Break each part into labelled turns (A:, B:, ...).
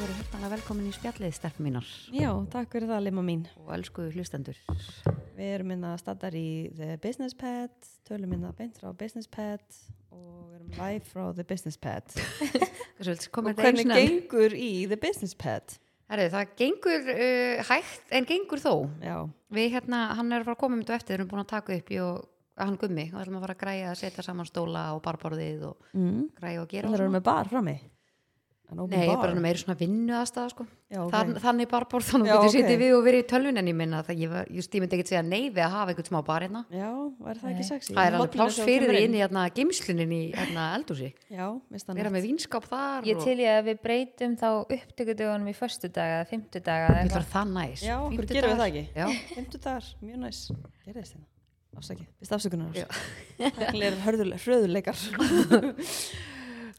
A: hérna velkomin í spjallið stelp mínar
B: Já, takk fyrir það Lima mín.
A: og elsku hlustendur
B: Við erum minna staðar í The Business Pad, tölum minna beint frá Business Pad og erum live frá The Business Pad.
A: Hversu,
B: og hvernig gengur í The Business Pad?
A: Herri, það gengur uh, hægt en gengur þó
B: Já,
A: við hérna, hann er að fara að koma um þetta eftir við erum búin að taka upp í og hann gummi og ætlum að fara að græja að setja saman stóla og barborðið og
B: mm.
A: græja og gera
B: það
A: og
B: eru
A: svona.
B: með bar frammi. An open
A: Nei,
B: bar.
A: bara meira svona vinnu aðstæða sko.
B: Já, ok.
A: Þann, þannig barborð, þannig
B: Já,
A: getur
B: ok.
A: okay. setið við og verið í tölvun en ég minna það, ég, var- just, ég myndi ekki segja nei við að hafa einhvern smá bar hérna
B: Já, var það
A: Nei.
B: ekki sexy?
A: Það er alveg
B: Mollinu
A: pláss
B: sem
A: fyrir
B: kemur
A: því inn í hérna, geimslunin í hérna, eldhúsi.
B: Já, mist hann.
A: Vera með vinskáp þar
C: Ég
A: og
C: til ég að við breytum þá upptökudögunum í föstudaga eða fimmtudaga eða
A: ég
C: eitthvað.
A: þarf það næs.
B: Já, okkur
A: Fimmtudagar.
B: gerum við það ekki.
A: Já,
B: Fymtudagar, mjög næs. Gerðist hérna. Afsakið, bist afsökunar. Tæknilegir hörðule- hröðuleikar.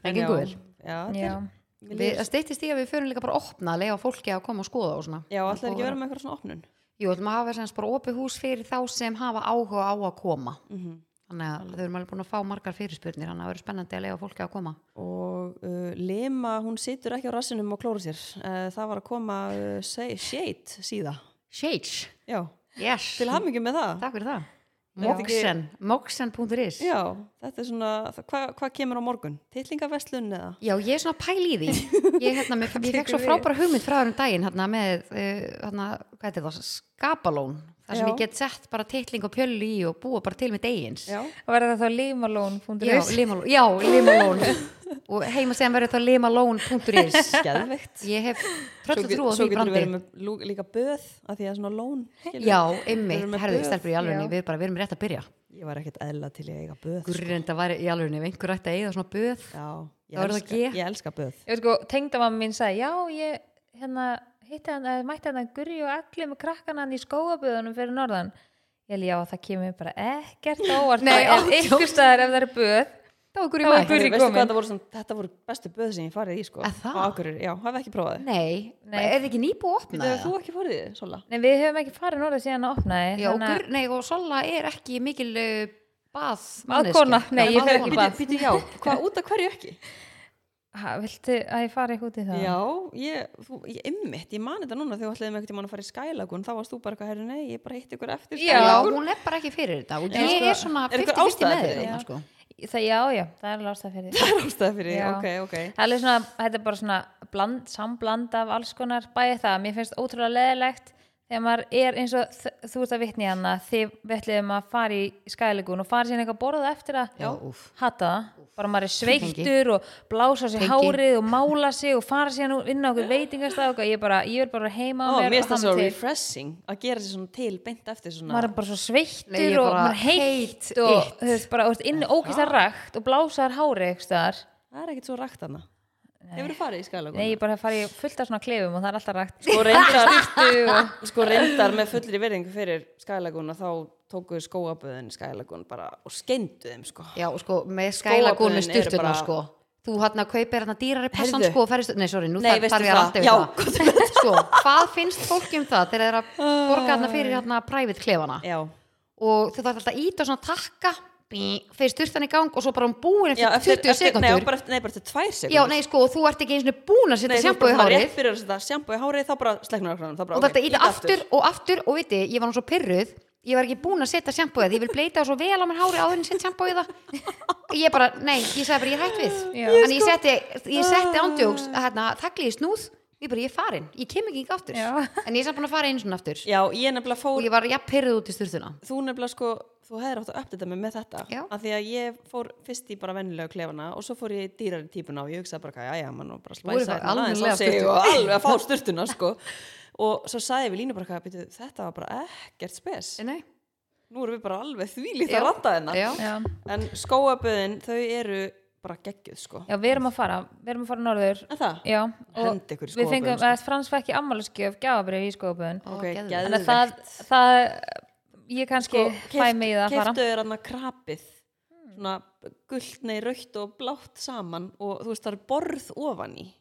A: En
B: En
A: gengur
B: já,
A: vel.
B: Já, þetta
C: Já,
B: er- mér
A: við,
B: líður-
A: það steyttist í að við förum líka bara að opna að leiða fólki að koma og skoða og svona.
B: Já,
A: Og
B: alltaf ekki að vera
A: bara-
B: með eitthvað svona opnun.
A: Jú, ætlum að hafa semst bara opið hús fyrir þá sem hafa áhuga á að koma.
B: Mhm.
A: Þannig að þau erum alveg búin að fá margar fyrirspurnir, þannig að það verður spennandi að leiða fólki að koma.
B: Og uh, Lima, hún situr ekki á rassinum og klóra sér. Uh, það var að koma uh, se- shade síða.
A: Shades,
B: Já,
A: yes,
B: til hamingjum með það.
A: takk fyrir það.
B: Ég veit ekki-
A: Moxen, moxen.is
B: Já, þetta er svona, það- hvað hva kemur á morgun? Tittlingaveslun eða?
A: Já, ég er svona pæl í því. Ég, hérna, mér, ég fekk svo frábæra hugmynd frá þér um daginn hérna, með, uh, hérna, hvað heitir það, skapalón. Það sem
B: Já.
A: ég get sett bara titling og pjöllu í og búa bara til með degins.
B: Já,
C: og verða það þá
A: Já,
C: limalón.is
A: limalón. Já, limalón. og heima segja verður það limalón.is.
B: geðveikt.
A: Ég hef tröll að trúa
B: Svo
A: því
B: getur við
A: brandi.
B: verið með lú, líka böð, af því að svona lón. skilur.
A: Já,
B: Við erum
A: ymmið,
B: með
A: herðu,
B: böð.
A: stelpur í alvegni,
C: Já.
A: við, bara, við erum rétt að byrja.
B: Ég var ekkert eðla til ég eiga böð. sko.
A: Gurrenda væri í alvegni, ef einhver ætti að eigða svona böð.
B: Já, ég
A: Það voru það
B: elska,
A: G.
B: ég elska böð.
C: Ég veit sko, tengdamamma mín sagði, já, ég hérna, hitti hann, eða mætti hann að gurri og allir með krakkana hann í skóaböðunum fyrir norðan. Ég held, já, það kemur bara ekkert á óvart.
A: Nei,
C: en
A: ándjóks.
C: ykkur staðar ef það er böð.
A: Þá er gurri
C: Þá er
A: mætt.
C: Gurrý
B: Herri, veistu
C: komin.
B: hvað þetta voru, svona, þetta voru bestu böð sem ég farið í sko.
A: Að það?
B: Á Akureyri, já, hafa ekki prófað þið.
A: Nei,
C: Nei.
A: er það ekki nýbúið að opna
B: Þetta
A: það?
B: hefur þú ekki farið í þið, Sola?
C: Nei, við höfum ekki farið norðan síðan að opna þið.
A: Já, og, gur, nei, og Sola er ekki mikil uh, bað
C: Baðkona, nei, ég fer ekki
A: baðkona.
C: í bað.
B: Býtu, býtu, já, hvað, út af hverju ekki?
C: Ha, viltu að ég fari eitthvað út í það?
B: Já, ég, þú, ég ymmit, ég man þetta núna þegar þú ætlaði með eitthvað tíma að fara í skælagun, þá varst þú bara eitthvað, herru, nei, ég bara hitt ykkur eftir
C: Já.
A: Já,
B: Skylagoon.
A: hún er bara ekki fyrir þetta og
B: Já,
A: ég
B: sko,
A: er svona
B: er einhver
A: 50-50
B: ástæða
A: með
B: fyrir því?
A: þetta sko.
C: Það, já, já, það er lástað fyrir því.
B: Það er ástæða fyrir,
C: Já.
B: ok, ok.
C: Það er alveg svona, þetta er bara svona bland, sambland af alls konar bæði það. Mér finnst ótrúlega leðilegt þegar maður er eins og þ- þú ert að vitni hana þið vettliðum að fara í skælegun og fara síðan eitthvað að borða eftir að
A: Já, úf.
C: hata það. Bara maður er sveiktur og blása sér
A: Tengi.
C: hárið og mála sig og fara síðan úr- inn á okkur veitingastaf og ég, er bara, ég er bara heima
B: Ó,
C: á
B: mér
C: mér
B: finnst það svo
C: hamra til.
B: refreshing að gera sér svona til beint eftir svona.
C: maður er bara svo sveittur
A: Nei, ég er
C: og
A: bara
C: maður er heitt
A: heit
C: og
A: it.
C: þú veist bara, þú veist, inni ókistar rakt og blásaðar hárið eitthvað staðar.
B: Það er ekkert svo rakt hana. Hefur þú farið í skælagun?
C: Nei, ég bara farið í fullt af svona klefum og það er alltaf rakt
B: Sko reyndar,
C: Styrtu og
B: sko reyndar með fullri verðingu fyrir skælagun og þá tókuðu skóaböðin skælagun bara og skeindu þeim sko.
A: Já, og sko, með skælagónu
B: Skóaböðin eru
A: styrtunar
B: bara-
A: sko. Þú hann að kaupir hann að dýrari passan
B: Heyrðu.
A: sko og ferist, nei, sorry, nú
B: Nei,
A: þarf
B: veistu
A: þarf ég að
B: það?
A: ranta
B: Já,
A: yfir það Sko, hvað finnst fólki um það þegar það er að borga hann fyrir hann að private klefana
B: Ah. Já,
A: og þú þarf alltaf að íta og svona takka bí, fyrir styrtan í gang og svo bara hún búin
B: Já,
A: eftir 20
B: eftir, eftir, nei,
A: sekundur
B: bara eftir, nei, bara eftir tvær sekundur.
A: Já, nei, sko, og þú ert ekki eins og búin að
B: Nei,
A: setja
B: þú
A: sjampo í
B: bara
A: hárið
B: rétt fyrir þess að það sjampo í hárið þá bara sleiknar okkur þá bara,
A: og
B: ok,
A: þetta íta aftur og aftur og viti, ég var nú svo pyrruð ég var ekki búin að setja sjampóið ég vil bleita það svo vel á mér hári áður en setja sjampóið það ég bara, nei, ég sagði bara ég er hætt við
C: Já.
A: en
B: sko-
A: ég setti, ég setti
B: Ah.
A: ándjóks hérna, þakli í snúð, ég bara ég er farin ég kem ekki hingað aftur,
C: Já.
A: en ég er samt búin að fara eins og aftur
B: já, ég nefnilega
A: og
B: fór,
A: ég var jafn pyrruð út í styrðuna
B: þú nefnilega sko þú hefðir átt að uppdata mig með þetta
A: Já.
B: af því að ég fór fyrst í bara vennilega klefana og svo fór ég í dýrari típuna og ég hugsaði bara, já, já, mann og bara
A: Voru
B: spæsa
A: það
B: hérna aðeins á
A: almennilega
B: sig
A: sturtur?
B: og alveg að fá styrtuna sko og svo sagði við línu bara, "Hvað, bíddu, þetta var bara ekkert spes
A: nei,
B: nú erum við bara alveg þvílíkt
A: Já.
B: að ranta hennar
A: já,
C: Já.
B: en skóaböðin, þau eru bara geggjuð sko
C: Já, við erum að fara, við erum að fara norður
B: en það,
C: Já, og
B: Hendi ykkur í
C: við
B: skógaböðin,
C: fengum
B: sko.
C: að Frans fekk í ammálusgjöf gjafabrið í skóaböðun
A: Ó,
B: Ok,
A: geðveikt.
B: geðveikt.
C: Þannig að það, það ég
B: Sko,
C: kannski Sko, fæ mig í það að fara Hmm.
B: keiftu þér hann að krapið svona gullt nei raukt og blátt saman og þú veist það er borð ofan í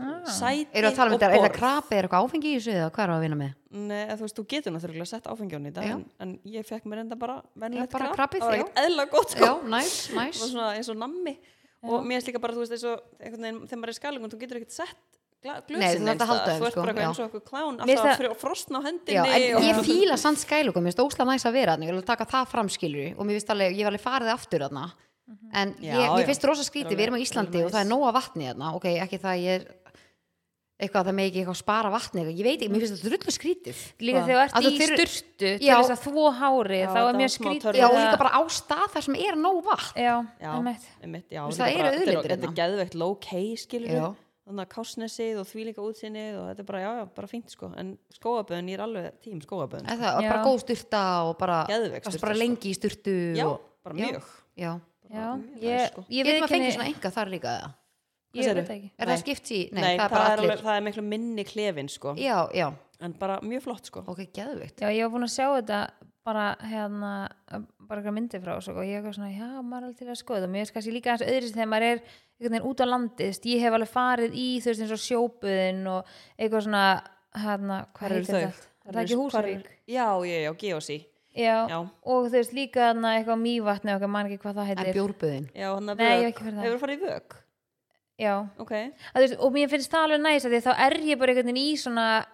C: Ah.
B: sæti
A: eru að tala um
B: og
A: þetta, er
B: borð
A: það krapi, er eitthvað áfengi í þessu eða hvað er að vinna með
B: Nei, eða þú veist, þú getur náttúrulega sett áfengjón í þetta
A: Já.
B: en, en ég fekk mér enda
A: Já,
B: bara venjulegt
A: bara
B: krap.
A: krabbið,
B: það var
A: já.
B: ekkert eðla gott sko.
A: já, næs,
B: það
A: næs
B: var svona eins og nammi og mér finnst líka bara, þú veist, eins og einhvern veginn, þegar maður er skalungun, þú getur ekkert sett glusin
A: Nei, þú þarft að halda þeim,
B: þú ert
A: sko,
B: bara eitthvað
A: já.
B: eins og okkur klán
C: Mér
B: alltaf
C: finnst
B: það... frostn á
A: Já,
B: hendinni
A: en
B: og...
A: ég fíla samt skælugum, mér finnst ósla næs að vera þarna, ég vil taka það framskilur og mér finnst alveg, ég hef alveg farið aftur þarna en
B: Já,
A: ég, mér
B: já.
A: finnst rosa skrítið, við erum á
B: Alveg-
A: Íslandi
B: alveg
A: og það er
B: næs.
A: nóga vatni þarna, ok, ekki það að ég er eitthvað, það megi ekki eitthvað spara vatni, eitthvað, ég veit ekki, mér finnst þetta drullu skrítið
C: líka
A: Að
C: þegar þú ert
A: þú
C: í
A: fyrir-
C: sturtu til
A: Já.
C: þess að þvó hári
B: Já,
C: þá
B: þetta
C: er
B: var
C: mjög
B: smá
C: skrítið
B: törn.
A: Já, og
C: að-
A: líka bara á stað þar sem er nóg vatn
C: já,
B: Já,
C: einmitt.
B: einmitt, já,
A: Þú veist,
B: þetta
A: það eru
B: er bara- þetta er-
A: auðlindir
B: þetta er
A: hérna.
B: geðveikt low-key skilur
A: Já.
B: þannig að kásnesið og því líka útsinnið og þetta er bara, já, já, bara fínt sko en skóaböðin, ég er alveg tím skóaböðin
A: En það var bara
C: Já.
A: góð styrta og bara,
B: Geðveik
A: varst
B: sturta,
A: bara
B: sko.
A: lengi í styrtu
B: já,
A: og,
B: bara
A: Já.
B: mjög
A: já.
C: já,
B: mjög næs,
C: ég,
B: sko.
C: ég
A: Getur maður
C: viðurkenni-
A: fengið svona enga þar líka eða?
C: ég
B: Hvað
C: veit
B: segirðu?
C: ekki
A: Er
B: Nei.
A: það skipt í? Nei,
B: Nei,
A: það er bara allir
B: alveg, það er miklu minni klefin sko
A: Já, já,
B: en bara mjög flott sko
A: ok, geðvikt
C: já, ég var búin að sjá þetta bara hérna, bara eitthvað myndi frá þessu og ég er svona, já, maður er alveg til að skoða þetta. mér finnst kannski líka aðeins öðru þegar maður er einhvern veginn út á landið, þú veist, ég hef alveg farið í þú veist eins og sjópuðin og eitthvað svona, hérna, hvað
B: Hvar eru
C: heitir þetta
B: þau?
C: allt? er það ekki
B: Hvar eru-
C: Húsavík?
B: já, já, já, Geosi
C: Já,
B: Já.
C: og þú veist líka þarna eitthvað mývatni og eitthvað, man ekki hvað það
A: En
C: heitir
A: bjórbuðin?
B: já, hann að
C: Nei, ég hef
B: vök,
C: ekki farið það.
B: hefur farið í vök
C: Já,
B: ok,
C: að, þú veist, og mér finnst það alveg næs að því að þá er ég bara einhvern veginn í svona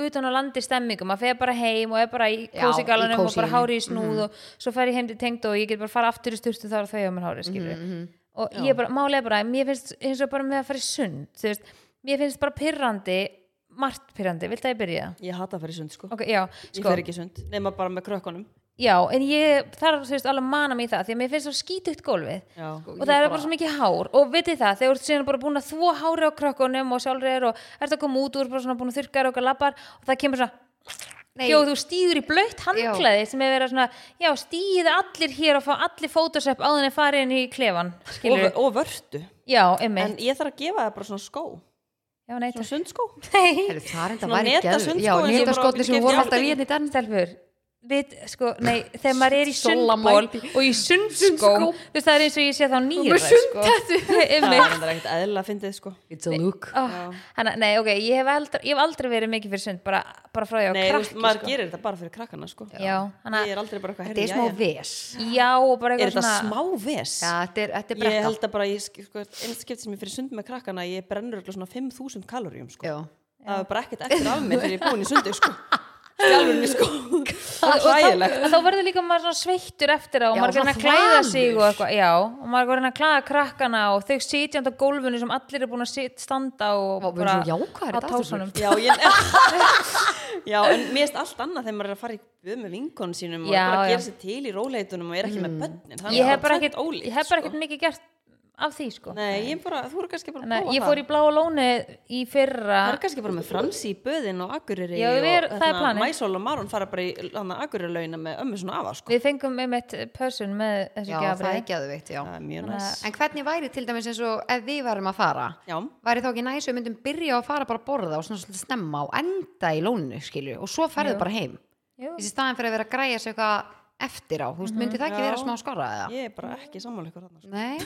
C: utan á landi stemmingum, maður fer bara heim og er bara í
A: Já, í
C: kósigalanum og bara
A: kósíinu.
C: hári í snúð
B: Mhm.
C: og svo fer ég heim til tengd og ég get bara fara aftur í sturtu þá er þau á mér hári, skilur
B: Mhm.
C: og ég bara, málega er bara, mér finnst eins og bara með að fara í sund, þú veist mér finnst bara pirrandi, margt pirrandi vilt að ég byrja?
B: ég hata að fara í sund sko
C: Ok, já,
B: ég fer ekki í sund, nema bara með krökkunum
C: já, en ég þarf, þú veist, alveg að mana mig í það því að mér finnst svo skítugt gólfið
B: já,
C: og það er bara svo mikið hár og vitið það, þegar þú ert síðan bara búin að þvo hári á krökkunum og sjálfur er og ert að koma út úr bara svona búin að þurrka þér og labbar og það kemur svona
A: Nei.
C: Jó, þú stýður í blöytt handklæði sem er verið að svona, já, stýðu allir hér og fá allir fótosepp áður en farið inn í klefan, skilur
B: og, og vörtu
C: Já, emmi,
B: en ég þarf að gefa það bara svona skó
C: já, nei,
B: svona sundskó
C: takk
A: Heru, það er enda
B: Svona
A: væri
B: neta
A: geðvikt Já,
B: sundskóinn sem bara-
A: netaskotni sem
B: ég
A: við vorum
B: skipti
A: alltaf í
B: aldrei
A: hérna í dann
C: Stelfur, við, sko, nei, þegar maður er í
A: Sola
C: sundból
A: mæti.
C: og í sundskó,
A: Sundskó.
C: þú veist, það er eins og ég sé þá nýra,
A: með sundhettu.
C: sko.
B: það
C: Emmi,
B: er reyndar ekkert eðla að fyndið sko
A: It's a look
C: Oh, hana, nei, ok, ég hef, aldrei, ég hef aldrei verið mikið fyrir sund, bara, bara frá því að
B: Nei,
C: ég
B: þú
C: var
B: veist, maður
C: krakki,
B: gerir þetta bara fyrir krakkana sko.
C: sko. Já, hana,
B: Ég er aldrei bara eitthvað
A: Þetta
B: herri,
A: er smá
B: jæja.
A: ves
C: já, og bara
B: Er
C: eitthvað
B: þetta
C: svona,
B: smá ves?
A: Já, þetta er, þetta er
B: ég
A: brekka
B: held að bara, ég, sk- sko, einnig skipti sem ég fyrir sund með krakkana ég brennur alltaf svona 5.000 kaloríum sko.
A: Já,
B: það er bara ekkert eftir af mér þegar ég er búin í sundi sko. Sjálfurinn sko. Það er
C: og þá,
B: hlægilegt
C: þá verður líka maður svona sveittur eftir það og
A: Já,
C: maður er
A: svona
C: að klæða
A: þvalur.
C: sig og eitthvað, já, og maður er að klæða krakkana og þau sitjandi á gólfinu sem allir er búin að sit, standa og
A: Vá, við erum svo jákvæðir í
C: á
A: dag,
C: tásunum.
B: Já, ég, já, en mér erst allt annað þegar maður er að fara í buð með vinkonum sínum og
C: Já,
B: er bara að
C: já. Mm.
B: gera sér til í róleitunum og er ekki með bönnin
C: Ég hef bara ekkert, ég hef
B: sko.
C: bara ekkert mikið gert af því, sko.
B: Nei, ég bara, þú eru kannski bara að
C: Nei,
B: prófa
C: ég
B: það.
C: fór í bláa lóni í fyrra
B: Það er kannski bara með fransi í böðin og aguriri
C: Já, við erum- það er planið.
B: Mæsól og Marun fara bara í agurilauna með ömmu svona afa sko.
C: Við fengum um eitt person með þessu
A: já það
C: gjafrið.
A: er geðvikt, já
B: Það er mjög næs
A: En hvernig væri til dæmis eins og ef við varum að fara
B: Já,
A: væri þá ekki næs og við myndum byrja að fara bara að borða og svona svolítið snemma og enda í lóninu skilju og svo ferðu bara heim
C: Jú.
A: Þessi staðan fyrir að vera að græja sig eitthvað eftir á, þú veist, myndi það ekki
B: Mhm, Já.
A: vera smá skorra eða?
B: ég er bara ekki sammála ykkur þarna sko.
A: Nei,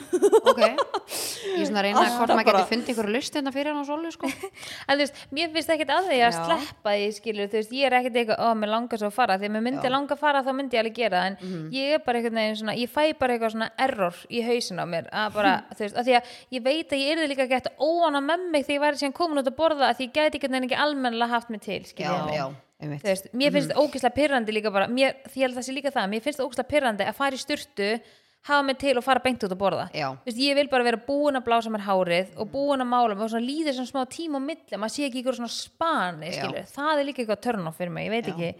A: ok Ég er svona að reyna að
B: Alltaf
A: hvort maður
B: bara-
A: getur fundið einhverju lust hérna fyrir hann á solu sko
C: En þú veist, mér finnst ekkert að því að
B: Já.
C: sleppa því, skilur, þú veist, ég er ekkert eitthvað, ó, mér langar svo að fara, því að mér myndi langa að fara þá myndi ég alveg gera það, en
A: Mhm.
C: ég er bara einhvern veginn svona, ég fæ bara eitthvað svona error í hausin á mér, að bara, þú veist, að því að ég veit að ég yrði líka gett óana með mig þegar ég væri síðan komin út að borða, að því ég gæti einhvern veginn ekki almennilega haft mig til,
A: Já,
C: skilur.
A: já, einmitt Mm.
C: Þú veist, mér finnst ógislega pyrrandi líka bara, mér, því ég held að það sé líka það, mér finnst ógislega pyrrandi að fara í sturtu, hafa mig til og fara beint út að borða.
A: Já. Mm.
C: Þú veist, ég vil bara vera búin að blása mér hárið og búin að mála mig og svona líður svona smá tíma á milli, maður sé ekki ykkur svona spani,
A: Já.
C: skilur, það er líka eitthvað törn á fyrir mig, ég veit ekki.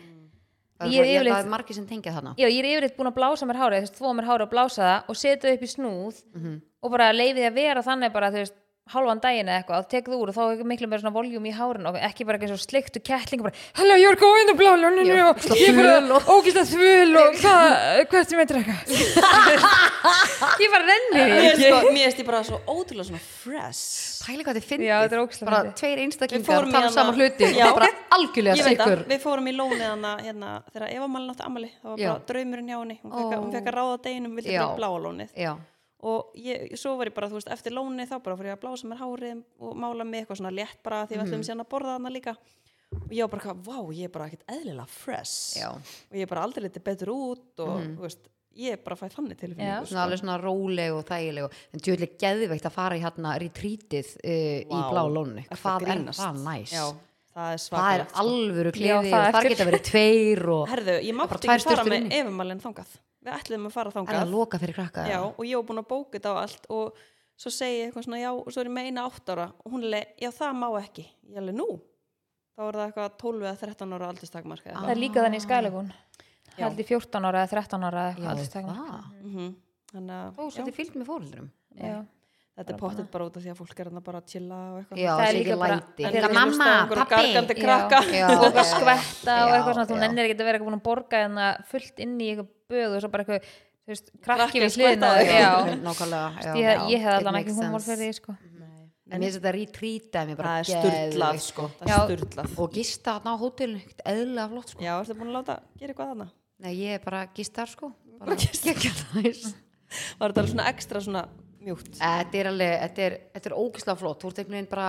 A: Það
C: Ég
A: er, ég,
C: er
A: það
C: yfirleitt-
A: er margir sem tengja þarna
C: Já, ég er yfirleitt búin að blása mér hárið, þú veist, þvó mér hárið og blása það og setja það upp í snúð og bara leiði því að vera þannig bara, þú veist, hálfan daginn eða eitthvað, tekur þú úr og þá er miklu meira svona voljum í hárinu og ekki bara ekki svo sliktu kettling og bara, hello, you're going to blá lóninu og ég er bara ógist að þvul og hvað, hvert sem eitthvað ég bara renni því
B: Mér sko, mér erst ég bara svo ótrúlega svona fresh
A: Pæli hvað þið finnir
C: Já, þetta er ógeðslega
A: Bara
C: fyndið.
A: tveir
B: Við fórum
A: einstaklingar
B: í
A: tala
B: hana-
A: saman hluti og
B: Já.
A: það er bara algjörlega
B: Ég veit
A: sikur
B: að við fórum í lónið hana hérna, þegar Eva Malin átti amali það var bara
A: Já.
B: draumurinn hjá henni hún fekk,
A: Ó.
B: oh. hún fekk að ráða deginum, vildi
A: Já.
B: bara í bláa lónið
A: Já,
B: og ég, svo var ég bara, þú veist, eftir lónið þá bara fór ég að blása mér hárið og mála mig eitthvað svona létt bara því við ætlum
A: Mhm.
B: síðan að borða hana líka og ég var bara, eitthvað, vá, ég er bara ekkert eðlilega fresh
A: Já. Mhm.
B: og ég er bara aldrei litið betur út og, þú veist, ég bara fæ þannig
C: Já.
B: tilfinningu
A: svona alveg svona róleg og þægileg og- en djúlega geðveikt að fara í hérna retrítið uh, í
B: Vá,
A: blá lónu
B: ertu að
A: hvað er
B: grínast?
A: það næs
B: Já, það er
A: það er
B: svakalegt sko.
A: alvöru
C: Já,
A: kliði
C: það
A: og þar
C: eftir.
A: geta verið tveir og
B: Herðu, ég
A: Bara
B: mátti
A: tvær
B: ekki fara
A: sturtur
B: með
A: inni.
B: efumalinn þangað Við ætliðum að fara
A: er
B: þangað
A: það loka fyrir krakka
B: Já,
A: eða?
B: og ég var búin að bóka þetta á allt og svo segi ég eitthvað svona, já, og svo er ég með eina átt ára og hún er, já, það má ekki ég alveg nú, þá er það eitthvað 12 eða 13 ára aldurstakmark
A: Ah.
C: það er líka þannig í skælegun
B: Já.
C: held í 14 ára eða 13 ára eða
A: já
C: eitthvað, alls takk.
A: það
B: mm þannig
A: Ó,
B: að
A: svolítið fylgd með fóröldurum
C: Já.
B: þetta er pottitt bara út af því að fólk er þarna bara að chilla og eitthvað
A: Já,
C: Það er
A: það sé
C: líka
A: ekki
C: bara-
A: læti
C: en
A: Líka
C: þú veist,
A: mamma,
B: það er einhverjum gargandi
A: pappi
B: krakka
A: Já,
C: og eitthvað
A: já, já.
C: skvetta og
A: Já,
C: eitthvað svona, þú
A: já.
C: nennir ekki að vera eitthvað búin að borga en fullt inn í eitthvað böð og svo bara eitthvað, þú veist, krakki
B: Krakki
C: við
B: að skvetta
C: hliðina á þér.
B: þig.
C: Já.
A: Nákvæmlega já.
C: Ég, ég hef
A: It
C: allan
A: makes
C: ekki humor
A: sense. Mm.
C: fyrir því, sko.
A: En mér finnst þetta rítrítið mér bara
B: það er sturlað,
A: geðveikt.
B: sko, það
C: Já.
B: er sturlað
A: Og gista þarna á hótelinu, ekkert eðlilega flott sko
B: Já, ertu búin að láta gera eitthvað þarna?
A: Nei, ég er bara gistar sko bara geggjað næs.
B: Var þetta alveg svona ekstra svona mjúkt?
A: Þetta er alveg, þetta er, þetta er ógislega flott Þú ert einhvern veginn bara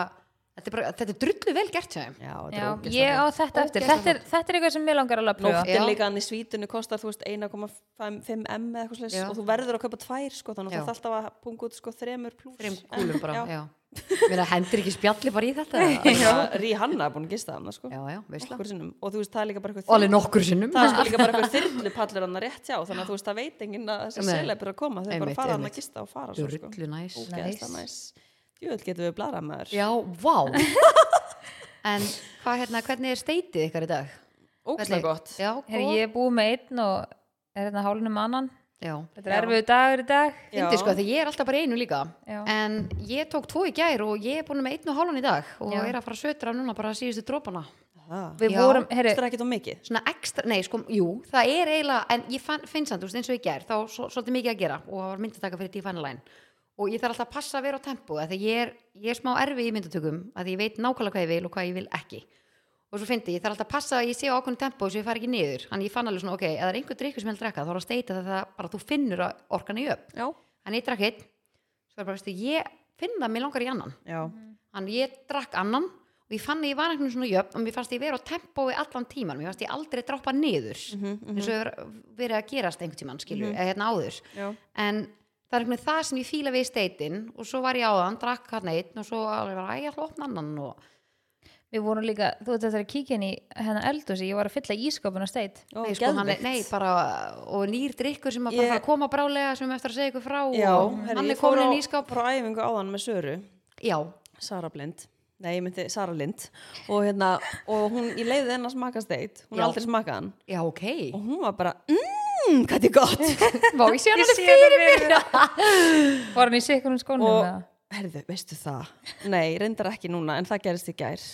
A: Þetta er, bara, þetta er drullu vel gert hjá þeim
B: Já, þetta
C: Já,
B: er ógeðslega
C: ég á þetta eftir.
A: Ógeðslega
C: Þetta er, þetta er eitthvað sem mér langar alveg að pröfa.
A: Já.
B: Nóttin líka hann í svítunni kostar þú veist 1,5M eða eitthvað slags
A: Já.
B: og þú verður að kaupa tvær sko þannig
A: Já.
B: að það alltaf að punga út sko þremur pluss
A: Þeim kúlum bara, já, já. Mér hendur ekki spjalli bara í þetta eða?
B: Ríhanna er búin að gista þarna sko
A: Já, já, veistla
B: Nokkur sinnum. og þú veist það er líka bara
A: Og alveg
B: eitthvað
A: nokkur sinnum
B: það er sko líka bara eitthvað þyrlupallur hann rétt hjá þannig að þú veist það veit enginn að þessi
A: Nei.
B: selebur að koma þau bara
A: Einmitt,
B: fara hann
A: einmitt.
B: að gista og fara svo sko
A: Drullu næs
B: Ógeðslega
C: Nice.
B: næs Jú, getum við blara maður
A: Já, vá En hvað hérna, hvernig er steitið ykkar í dag?
B: Ógeðslega
A: Hvernig-
B: gott
A: Já,
C: Herri,
A: góð
C: ég er búið með einn og er hérna hálunum annan.
A: Já,
C: Þetta
B: Já.
C: er erfiðu dagur í dag.
A: fyndi sko, þegar ég er alltaf bara í einu líka
C: Já.
A: En ég tók tvo í gær og ég er búin með einn og hálfan í dag Og
C: Já.
A: er að fara að sötra núna bara síðustu dropana
B: Það
C: Við
A: Já.
C: vorum, herri,
B: er ekkert á mikið
A: svona ekstra, nei sko, jú, það er eiginlega en ég fann, finn samt, þú veist, eins og ég ger þá er svo, svolítið mikið að gera og það var myndataka fyrir Divaneline og ég þarf alltaf að passa að vera á tempo af því ég er, ég er smá erfi í myndatökum af því ég veit nákvæmlega hvað ég vil og hvað ég vil ekki og svo fyndi, ég þarf alltaf að passa að ég sé á ákveðinu tempo svo ég fari ekki niður, þannig ég fann alveg svona ok, ef það er einhver drikkur sem ég vil drekka, þá er að steita það að bara þú finnur að orkan í upp
B: Já,
A: þannig ég drakk einn, svo er bara, veistu, ég finn það, mér langar í annan
B: já,
A: Þannig ég drakk annan og ég fann að ég var einhvern veginn svona jöfn og mér fannst ég vera á tempói allan tíman, mér fannst ég aldrei droppa niður
B: Mhm,
A: eins og hefur verið að gerast einhvern tíman, skilju, eða hérna áður
B: já
A: en það er einhvern veginn það sem ég fíla við í steitin og svo var ég áðan, drakk hann einn og svo alveg var, æ, ég ætla að opna annan og
C: við vorum líka, þú veist þetta er að kíkja inn í hennar eldhúsi, ég var að fylla ískapun á steit.
B: Ó,
A: nei, sko, hann, er-
B: geðveikt.
A: nei, bara, og nýr drikkur sem að bara
B: Ég-
A: fara að koma brálega sem við eftir að segja ykkur frá
B: Já,
A: og
B: herri,
A: hann er
B: ég fór
A: komin
B: á-
A: inn í skáp
B: frá æfingu áðan með Söru
A: já,
B: Sara Blind Nei, ég myndi Sara Lind og, hérna, og hún, ég leiði hennar smakasteit
A: Já.
B: hún er aldrei smakað hann
A: já, ok
B: og hún var bara, mmm, hvað þið gott
C: Vá, ég sé hann alveg fyrir mér. Var hann í sikkunum skónum?
B: og,
C: eða?
B: herðu, veistu það nei, reyndar ekki núna, en það gerist í gær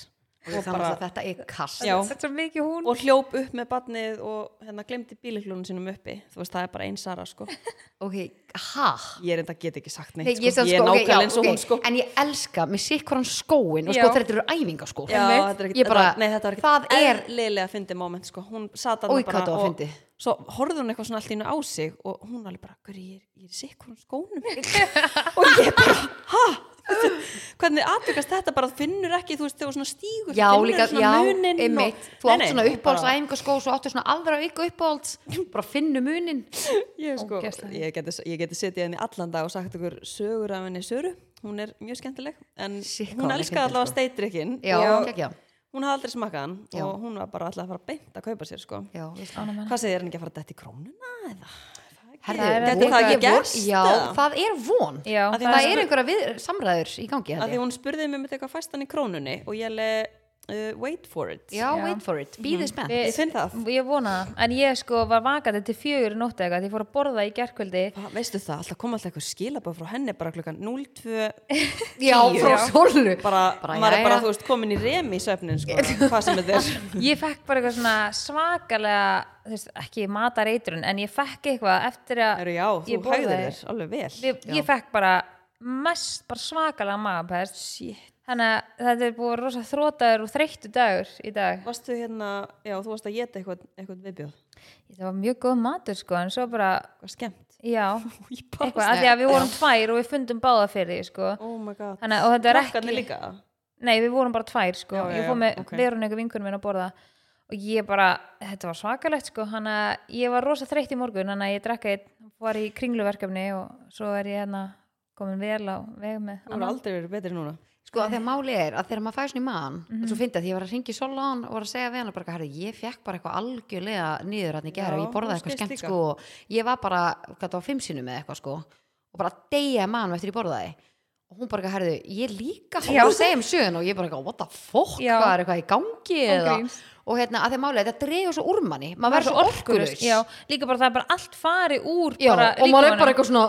A: og
B: og
A: þannig
B: bara,
A: að þetta er kast
B: Já.
C: Þetta er svo mikið hún.
B: og hljóp upp með badnið og hérna glemdi bíliklunum sínum uppi þú veist, það er bara einn Sara, sko
A: ok, ha
B: ég reyndar get ekki sagt neitt,
A: Nei,
B: sko.
A: ég, sko,
B: ég er
A: sko, okay, já,
B: nákvæmlega eins og
A: ok,
B: hún, sko
A: en ég elska með sitt hvoran skóin og
C: Já.
A: sko þetta eru æfinga sko
B: Já, þetta er ekkert,
A: bara,
B: þetta var- nei, þetta var
A: það
B: ekkert
A: er
B: eðlilega fyndi moment sko. hún sat
A: Ói,
B: hann
A: hvað þetta
B: bara
A: var
B: og
A: fyndið.
B: svo horfði hún eitthvað svona allt í innu á sig og hún alveg bara, hverju ég, er- ég er sikk hún skónum og ég bara, ha hvernig aðtökast þetta bara finnur ekki, þú veist, þegar þú svona stígur
A: já,
B: finnur
A: líka,
B: svona
A: já,
B: muninn og-
A: einmitt þú
B: Nei,
A: átt
B: nei,
A: svona
B: hún
A: uppáhalds
B: bara-
A: æfinga skó svo áttu svona aðra auka uppáhalds bara finnu munin
B: ég, sko,
C: Ógeðslega.
B: ég, geti, ég geti setið henni allan dag og sagt ykkur sögur af henni Söru hún er mjög skemmtileg en
A: Sikk, hvað
B: hún
A: hún er
B: elskaði
A: skemmtileg,
B: allavega
A: sko.
B: steitrykkinn
A: já,
B: og
A: já, já,
B: hún hafði aldrei smakað hann
A: Já.
B: og hún var bara alltaf að fara beint að kaupa sér sko.
A: já veist það.
C: Ánægð með hana.
B: Hvað segir hann ekki að fara dætt í krónuna eða?
A: Herðu,
C: Það er
A: þetta er
C: von.
A: ég
B: Það
A: vor-
B: gerst,
A: já,
B: eða?
A: það er von
C: Já,
B: Að
A: það
B: því hún
A: er
B: spurði-
A: einhverja við, samræður í gangi
B: Af
A: held
B: því
A: ég.
B: hún spurði mig með eitthvað fæst hann í krónunni og ég leði uh, wait for it.
A: já,
C: Já.
A: wait for it, býðið spennt
B: Ég finn það.
C: Ég vona það, en ég sko var vakandi til fjögur í nóttu eitthvað, því ég fór að borða í gerkvöldi
B: Hva, veistu það, alltaf kom alltaf eitthvað skilabað frá henni bara klukkan 02
A: já, frá sólu
B: bara,
A: Bara,
B: maður er bara,
A: jæja.
B: þú veist, komin í remi í söfnin, sko, hvað sem þetta er
C: Ég fekk bara eitthvað svona svakalega, þú veist, ekki matareitrun, en ég fekk eitthvað eftir að
B: Heru, já, þú
C: ég
B: hægðir
C: borðaði-
B: þér alveg vel
C: Ég, ég fekk bara mest, bara svakalega magapest.
B: Shit.
C: Þannig að þetta er búið að vera rosa þrótaður og þreyttu dagur í dag.
B: Varstu hérna, já, þú varst að geta eitthvað, eitthvað viðbjóð,
C: Þetta var mjög góð matur sko, en svo bara,
B: eitthvað skemmt
C: já,
B: Ég bara-
C: eitthvað, að því að við vorum tvær og við fundum báða fyrir því sko.
B: Oh my god,
C: Þannig að og þetta er
B: Krakkarnir
C: ekki...
B: líka
C: Nei, við vorum bara tvær sko.
B: Já, já,
C: ég
B: já,
C: fór með
B: ok.
C: okay. verun eitthvað vinkunum minn að borða og og ég bara, þetta var svakalegt sko hann að ég var rosa þreytt í morgun hann að ég drakk eitt, var í kringluverkefni og svo er ég hérna komin vel á veg með
B: Hún er aldrei verið betri núna
A: sko að þegar máli er að þegar maður fæði svona í mann mm
C: Mhm.
A: -hmm. svo fyndi að því ég var að ringi Solon og var að segja við hann bara, herri, ég fekk bara eitthvað algjörlega niður hann í gera og
B: Já,
A: ég borðaði
B: hún
A: eitthvað
B: skilst
A: skemmt
B: líka.
A: sko og ég var bara, hvað það var fimm sinum eða eitthvað sko og bara deyja mann eftir ég borðaði og hún bara, herðu, ég líka
C: Já.
A: hún segja um sjöðun og ég bara, eitthvað, what the fuck
C: Já.
A: hvað er eitthvað í gangi eða
C: gríns.
A: og hérna, að þegar máli er, þetta dregur svo úr manni maður verður svo orkulaus
C: já, líka bara það er bara allt fari úr
A: Já,
C: bara
A: og maður er
C: líkamanum.
A: bara eitthvað svona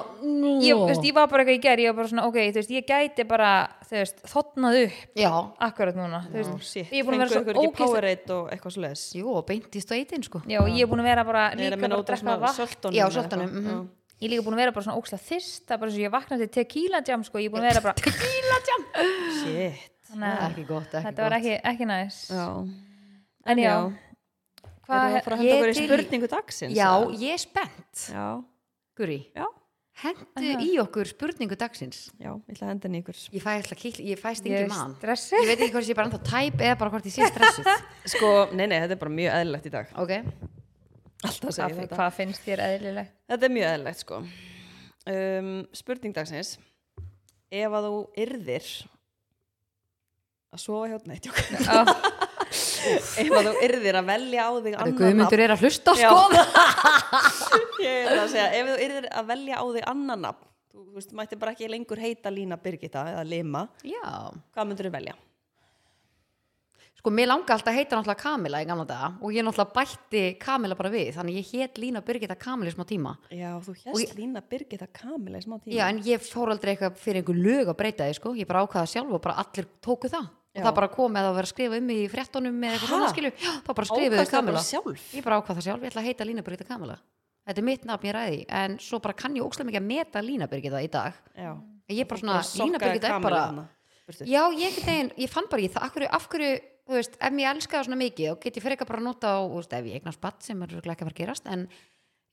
C: ég, þú veist, ég var bara eitthvað í gerð, ég var bara svona ok, þú veist, ég gæti bara, þú veist, þotnað upp
A: já,
C: akkurat núna, þú veist,
B: Sitt,
C: ég er búin að vera svo
B: ekki
C: ógeðslega
B: Powerade og eitthvað svo leiðis
A: jú, og beint í stöðin sko
C: já, ég er búin að vera bara
B: Nei,
C: líka
B: það meina
C: bara að
B: út af
C: drekka
B: svona
C: vatn
B: soltanum
A: Já,
B: eða
A: soltanum,
B: eitthvað.
A: mhm.
B: Já.
C: ég er líka búin að vera bara svona óksla þyrst það er bara eins og ég vaknaði til tequila jam sko, ég er búin að vera bara tequila jam
B: Shit
C: þannig að
A: ekki gott, ekki
C: þetta var
A: gott
C: ekki, ekki næs
B: Já
C: en já,
B: Já. Erum við að fara að henda
A: ég
B: okkur í
A: til í-
B: spurningu dagsins?
A: já,
B: eða?
A: ég er spennt
B: Já,
A: Guri,
B: já,
A: hendu í okkur spurningu dagsins
B: já, ég ætla að henda henni í ykkur
A: ég fæ alltaf kýll, ég fæ stingi
C: ég er
A: mann
C: stressuð
A: ég veit ekki hvort ég er bara ennþá tæp eða bara hvort ég sé stressuð
B: Sko, nei, nei, þetta er bara mjög eðlilegt í dag
A: ok,
B: Alltaf að
C: hvað
B: segja þetta
C: hvað finnst þér eðlilegt
B: Þetta er mjög eðlilegt, sko um, Spurning dagsins Ef að þú yrðir að sofa hjá neitt jók.
C: Ó,
B: Ef að þú yrðir að velja á þig
A: þetta
B: annan
A: guðmyndur er að hlusta
B: Já.
A: sko
B: nafn Ég er að segja, ef þú yrðir að velja á þig annan nafn Þú þú veist, mætti bara ekki lengur heita Lína Birgitta eða Lima
A: já,
B: Hvað myndur þú velja?
A: sko, mér langa alltaf að heita náttúrulega Kamila í gamla daga og ég náttúrulega bætti Kamila bara við þannig ég hét Lína Birgitta Kamila í smá tíma
B: Já, þú
A: Og
B: hérst Lína Birgitta Kamila í smá tíma
A: já, en ég fór aldrei eitthvað fyrir einhver lög að breyta því, sko, ég bara ákvaða sjálf og bara allir tóku það
B: Já.
A: og það bara kom eða að vera að skrifa um mig í fréttunum eða eitthvað
B: Ha?
A: svona skilu, já, þá bara skrifuðu
B: Ákvaðstu það
A: Kamila
B: bara sjálf?
A: ég bara ákvað það sjálf, ég ætla að heita Lína Birgitta Kamila þetta er mitt nafn ég ræði en svo bara kann ég ókslega mikið að meta Lína Birgitta í dag
B: Já.
A: ég er bara svona, Lína Birgitta er bara já, ég, einhvern veginn, ég fann bara ég það, af hverju, af hverju, þú veist, ef mér elska það svona mikið þá get ég fyrir eitthvað bara að nota á, þú veist, ef ég eignast batt sem er örugglega ekki að fara að gerast en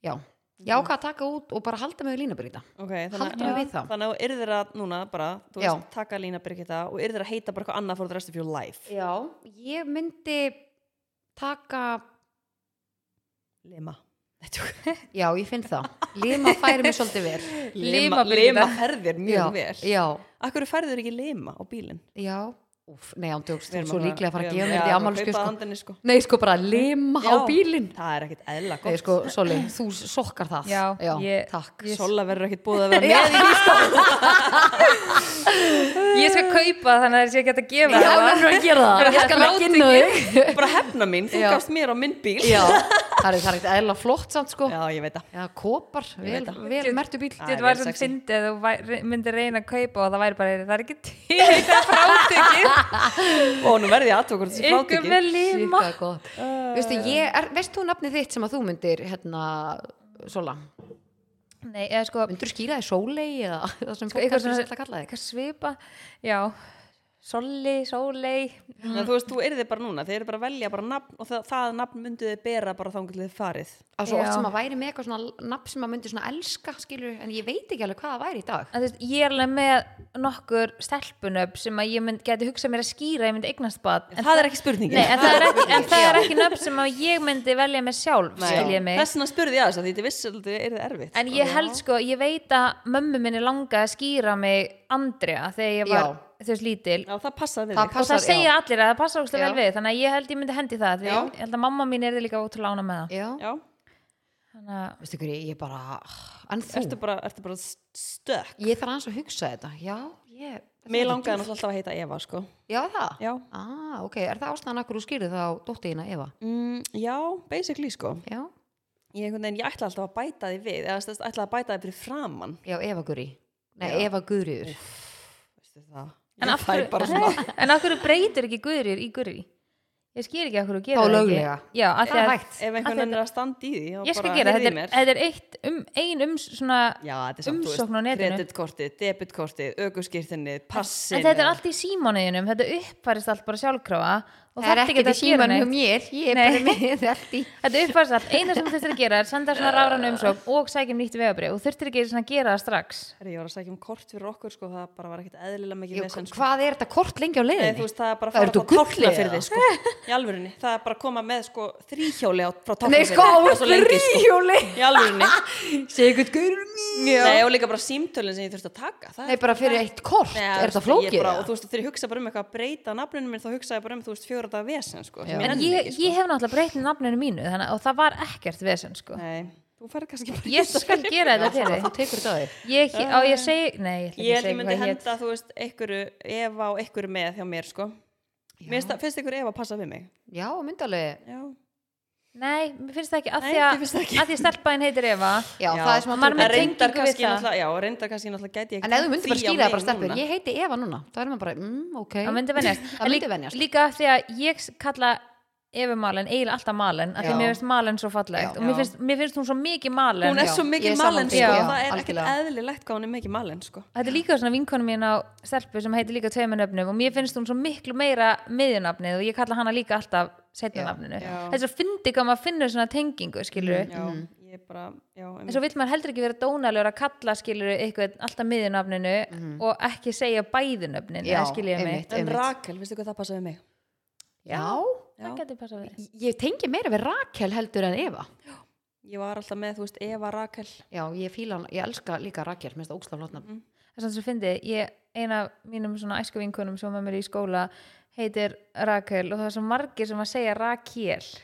A: já, ég ákvað að taka út og bara halda mig við Lína Birgitta
B: okay,
A: Haldum við við þá?
B: Þannig að þú yrðir að núna bara, þú
A: Já.
B: veist, taka Lína Birgitta og yrðir að heita bara eitthvað annað for the rest of your life
A: já, ég myndi taka,
B: Lima
A: já, ég finn það Lima færi mig svolítið vel
C: Lima Birgitta.
B: Lima ferðir mjög
A: já,
B: vel
A: já,
B: Akkur færður ekki Lima á bílinn?
A: já, úf, nei, ándjókst
B: Við erum
A: svo
B: fara-
A: líklega að fara að
B: við
A: gefa
B: erum-
A: mér þetta
B: Já,
A: í
B: bara
A: ammálskjöf
B: kaupa
A: sko.
B: handinni, sko.
A: Nei, sko bara lima á
B: Já,
A: bílinn
B: Það er ekkit eðla
A: Nei,
B: gott
A: sko, Soli, þú sokkar það
C: Já,
A: já
C: ég-
A: takk
C: ég-
B: Sola verður ekkit búið að vera
A: Já.
B: með í lísta
C: ég skal kaupa þannig að það sé ekki hægt að gefa
A: Ég
C: það.
A: verður að gera það Ég skal ekki inn á þig
B: Bara hefna mín, þú
A: Já.
B: gafst mér á minn bíl
A: Já, það er það er ekkert eðla flott samt sko
B: Já, ég veit það
A: Já, kopar, vel,
B: veit það.
A: vel mertu bíl
B: Æ,
C: Þetta
B: vel
C: var svona
B: sexy.
C: fyndið að þú væ- myndir reyna að kaupa og það væri bara, það er ekki til þetta frátekið,
B: Ó, nú verði ég aðtökur þessi
C: ykkur
B: frátekir
C: með lima.
A: Sýkka gott Veistu, ég er, veist þú nafnið þitt sem að þú myndir hérna, Sola
C: Nei, eða sko,
A: Myndur skýra þið Sólei eða það sem
C: Sko, eitthvað
A: fólk
C: svona-
A: er að kalla þig
C: eitthvað svipa, já, solli, sólei,
B: Þannig að þú veist, þú yrðir bara núna, þeir eru bara að velja bara nafn og það, það nafn myndu þið bera bara þangar til þið farið
A: Á svo oft
C: Já.
A: sem að væri með eitthvað svona nafn sem að myndi svona elska skilur En ég veit ekki alveg hvað það væri í dag
C: að þú veist, ég er alveg með nokkur stelpunöfn sem að ég mynd, geti hugsað mér að skýra, ég myndi eignast bad.
B: En
C: En,
B: það er ekki spurningin
C: nei, en það er ekki, en það er ekki nöfn sem að ég myndi velja mig sjálf,
B: Nei.
C: skiljið mig.
B: Þess vegna spurði ég aðeins að því þetta vissi að þetta er erfitt
C: En ég held sko, ég veit að mömmu minni langaði að skýra mig Andrea þegar ég var, þú veist, lítil
B: Já, það passar við
A: Það
B: þig.
A: passar,
C: og það
A: já.
C: segja allir að það passa ógstlega
A: Já.
C: vel við þannig að ég held ég myndi hendi það því
A: Já.
C: ég held að mamma mín er líka ótrúlega ána með það
A: Já,
B: Já,
C: þannig að
A: veistu hverju, ég bara ah, en þú,
B: ertu bara, ertu bara stök
A: ég þarf aðeins að hugsa þetta já, ég
B: Mér langaði náttúrulega alltaf að heita Eva sko
A: já, það,
B: Já,
A: ah, ok, er það ástæðan akkur þú skýrði það á dóttiðina Eva
B: mm, já basically sko
A: já,
B: Ég, einhvern veginn, ég ætla alltaf að bæta því við eða þú veist, ætla að bæta því fyrir framann
A: já, Eva Guri nei,
B: Já.
A: Eva Guriður
B: Veistu það?
C: En
B: Ég
C: af
B: fæ
C: hverju-
B: bara svona
C: en af hverju breytir ekki guðrýr í guðrýr ég skýr ekki af hverju þú gerir
A: Þá
C: það ekki
A: löglega.
C: já, af því
A: Það er
C: að-
A: hægt.
B: Ef einhvern veginn er að standa í því þá
C: ég skal
B: bara
C: gera,
B: heyrðu í
C: þetta
B: mér.
C: er, þetta er eitt um, ein um svona
B: Já, þetta er samt, þú
C: umsókn á
B: veist,
C: netinu.
B: kreditkortið, debitkortið, aukuskirtinni, passin
C: en þetta er allt í símónuðinum, þetta uppfærist allt bara sjálfkrafa
A: það
C: og
A: er
C: þarft
A: ekkert í
C: að gera
A: síman hjá
C: neitt.
A: mér ég er
C: Nei.
A: bara með allt í
C: Þetta er uppfærsall, eina sem þú þurftir að gera er senda svona ráran umsók og sækja um nýtt vegabrið og þurftir ekki svona að gera það strax
B: Herri, ég var að sækja um kort fyrir okkur sko, það bara var ekkert eðlilega mikið
A: Jú,
B: vesen, sko.
A: hvað er þetta kort lengi á
B: Nei, þú
A: leiðinni?
B: veist, það er bara að
A: Það
B: fara
A: eru
B: frá
A: þú gullið
B: tálkna fyrir
A: eða?
B: þið sko, í alvörunni það er bara að koma með sko þrýhjóli á, frá tálkna
A: Nei, sko,
B: sko,
A: þrýhjóli
B: í alvörunni
A: Segðu ykkur
C: um
A: gaurunni
B: Nei, og líka bara símtölin sem ég þurfti að taka það
A: Nei, bara fyrir eitt kort,
B: Nei, þú
A: er þetta
B: veist, ég
A: flókið?
B: bara, og
A: eða?
B: þú veist, þegar ég hugsa bara um eitthvað að breyta nafninu minn, þá hugsa ég bara um, þú veist, fjóra dagar vesen, sko. sem
C: En
B: nenni
C: ég,
B: ekki, sko.
C: ég hef náttúrulega breytið nafninu mínu þannig, að- og það var ekkert vesen sko.
B: Nei, þú færði kannski bara
C: Ég skal gera þetta til
A: Þú
C: þig
A: tekur þetta á þig
C: Ég, á ég segi, nei, ég ætla
B: Ég
C: ekki að
B: held ég
C: segja
B: myndi
C: hvað ég
B: henda, þú veist, einhverju Eva og einhverju með hjá mér, sko. Mér finnst það- finnst ykkur Eva passa við mig?
A: Já, myndalegi
B: Já.
C: Nei, mér finnst það ekki að
B: Nei,
C: því
B: þér finnst það ekki.
C: að, að því stelpaðin heitir Eva
A: Já,
B: Já.
A: það er smá
C: Maður
A: truflun.
C: með
B: En reyndar
C: tengingu við
B: kannski
C: það.
B: náttúrulega, já, reyndar kannski náttúrulega gæti ég
A: En ef þú myndir bara
B: því á
A: skýra það
B: mig
A: bara stelpur,
B: núna.
A: ég heiti Eva núna þá erum við bara, mm, ok
C: það myndi venjast
A: Það
C: En
A: myndi
C: lí-
A: venjast.
C: Líka af því að ég kalla Evu Malen, eiginlega alltaf Malen af því
A: Já.
C: mér finnst Malen svo fallegt
A: Já.
C: og mér
B: Já.
C: finnst, mér finnst hún svo mikið Malen
B: Hún er
A: Já,
B: svo
A: ég
B: mikið
A: er
B: malen,
A: sammála því,
B: sko,
A: já,
B: það er ekkert
A: algjörlega.
B: eðlilegt hvað hún er mikið malen, sko.
C: Þetta er líka svona vinkonu mín á stelpu sem heitir líka tveimur nöfnum og mér finnst hún svo miklu meira miðjunafnið og ég kalla hana líka alltaf
A: Já,
C: setja
A: Mm,
C: nafninu.
B: já.
C: Þetta er svo fyndi hvað maður finnur svona tengingu, skilur
B: Já,
A: Mhm.
B: ég er bara, já,
C: En svo vill maður heldur ekki vera dónalur að kalla skilur eitthvað alltaf miðjunafninu og ekki segja bæðunöfnin,
A: Mhm. Já,
C: skilur ég mig.
A: einmitt.
B: En Rakel, veistu hvað það passaði mig?
A: Já,
C: Það getur passað við.
A: ég tengi meira við Rakel heldur en Eva
B: Ég var alltaf með, þú veist, Eva Rakel
A: Já, ég fíla hann, ég elska líka Rakel mér finnst það ógstaflotna mm.
C: Það er svona svo fyndi, ég, eina af mínum svona æsku vinkunum sem var með mér í skóla heitir Rakel og það er svo margir sem að segja Rakel.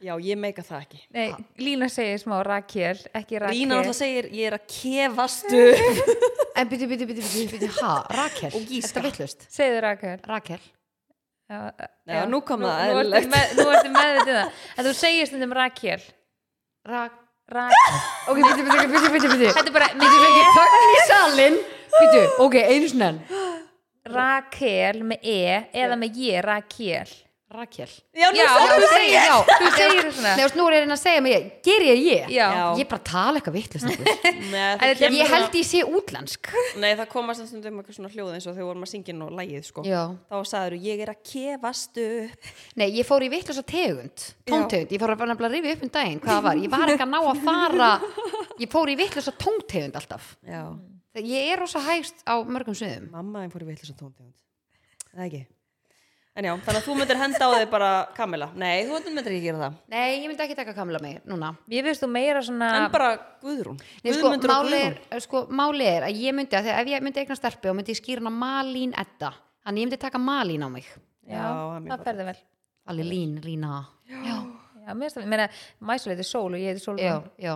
B: Já, ég meika það ekki
C: Nei, Lína segir smá Rakel, ekki Rakel.
B: Lína alltaf segir, ég er að kefastu Ég
A: En byrju, byrju, byrju, byrju, byrju, ha, Rakel
B: Og
A: Þetta
B: gíska.
A: vittlust,
C: segir Rakel.
A: Rakel
C: Já,
B: Nei, nú kom það
C: nú, nú ertu
B: eðlilegt.
C: með, nú ertu meðvitið um það en þú segir stundum Rakel
A: Rak
C: Rakel
A: Ok, byrju, byrju, byrju, byrju, byrju
C: þetta er bara
A: Þú
C: með
A: fengir þögn í salin Byrju, ok, einu snenn
C: Rakel með E eða með J Rakel
A: Rakel
B: Já, nú sagði
C: þú
A: þú segir-
C: segir,
A: já.
C: þú segir svona
A: Nei, og snúr er henni að segja mig, ger ég ég?
C: já,
B: Já.
A: Ég bara tala eitthvað vittlust
B: Nei,
C: En
B: það,
C: þetta er
B: kemur,
A: Ég held ég sé útlensk
B: nei, það komast að stundum eitthvað svona hljóð eins og þegar vorum að syngja nú lægið sko.
A: Já
B: Þá sagður, ég er að kefastu
A: Nei, ég fór í vittlösa tegund, tóntegund, ég fór að nefnilega að rifja upp um daginn, hvað það var, ég var ekki að ná að fara, ég fór í vittlösa tóntegund alltaf.
B: Já,
A: Ég er rosa hægst á mörgum sviðum.
B: mamma þeim fór í vitlis og tóntegund Það ekki En já, þannig að þú myndir henda á þig bara Kamila Nei, þú myndir ekki gera það
A: Nei, ég myndi ekki taka kamla mig núna.
C: ég veist þú meira svona
B: En bara Guðrún
A: Ah. Nei, sko,
B: Guðmundur og
A: máli er,
B: Guðrún
A: sko, máli er að ég myndi, að þegar ef ég myndi eigna stelpu og myndi ég skýra hana Malín Edda, þannig ég myndi taka Malín á mig.
C: já,
B: Já, mér
C: það ferði vel
A: Alveg Lín, Lína. Já,
C: já, mér finnst það, meina, Mæsul heitir Sól og ég heitir Sól
A: já, já.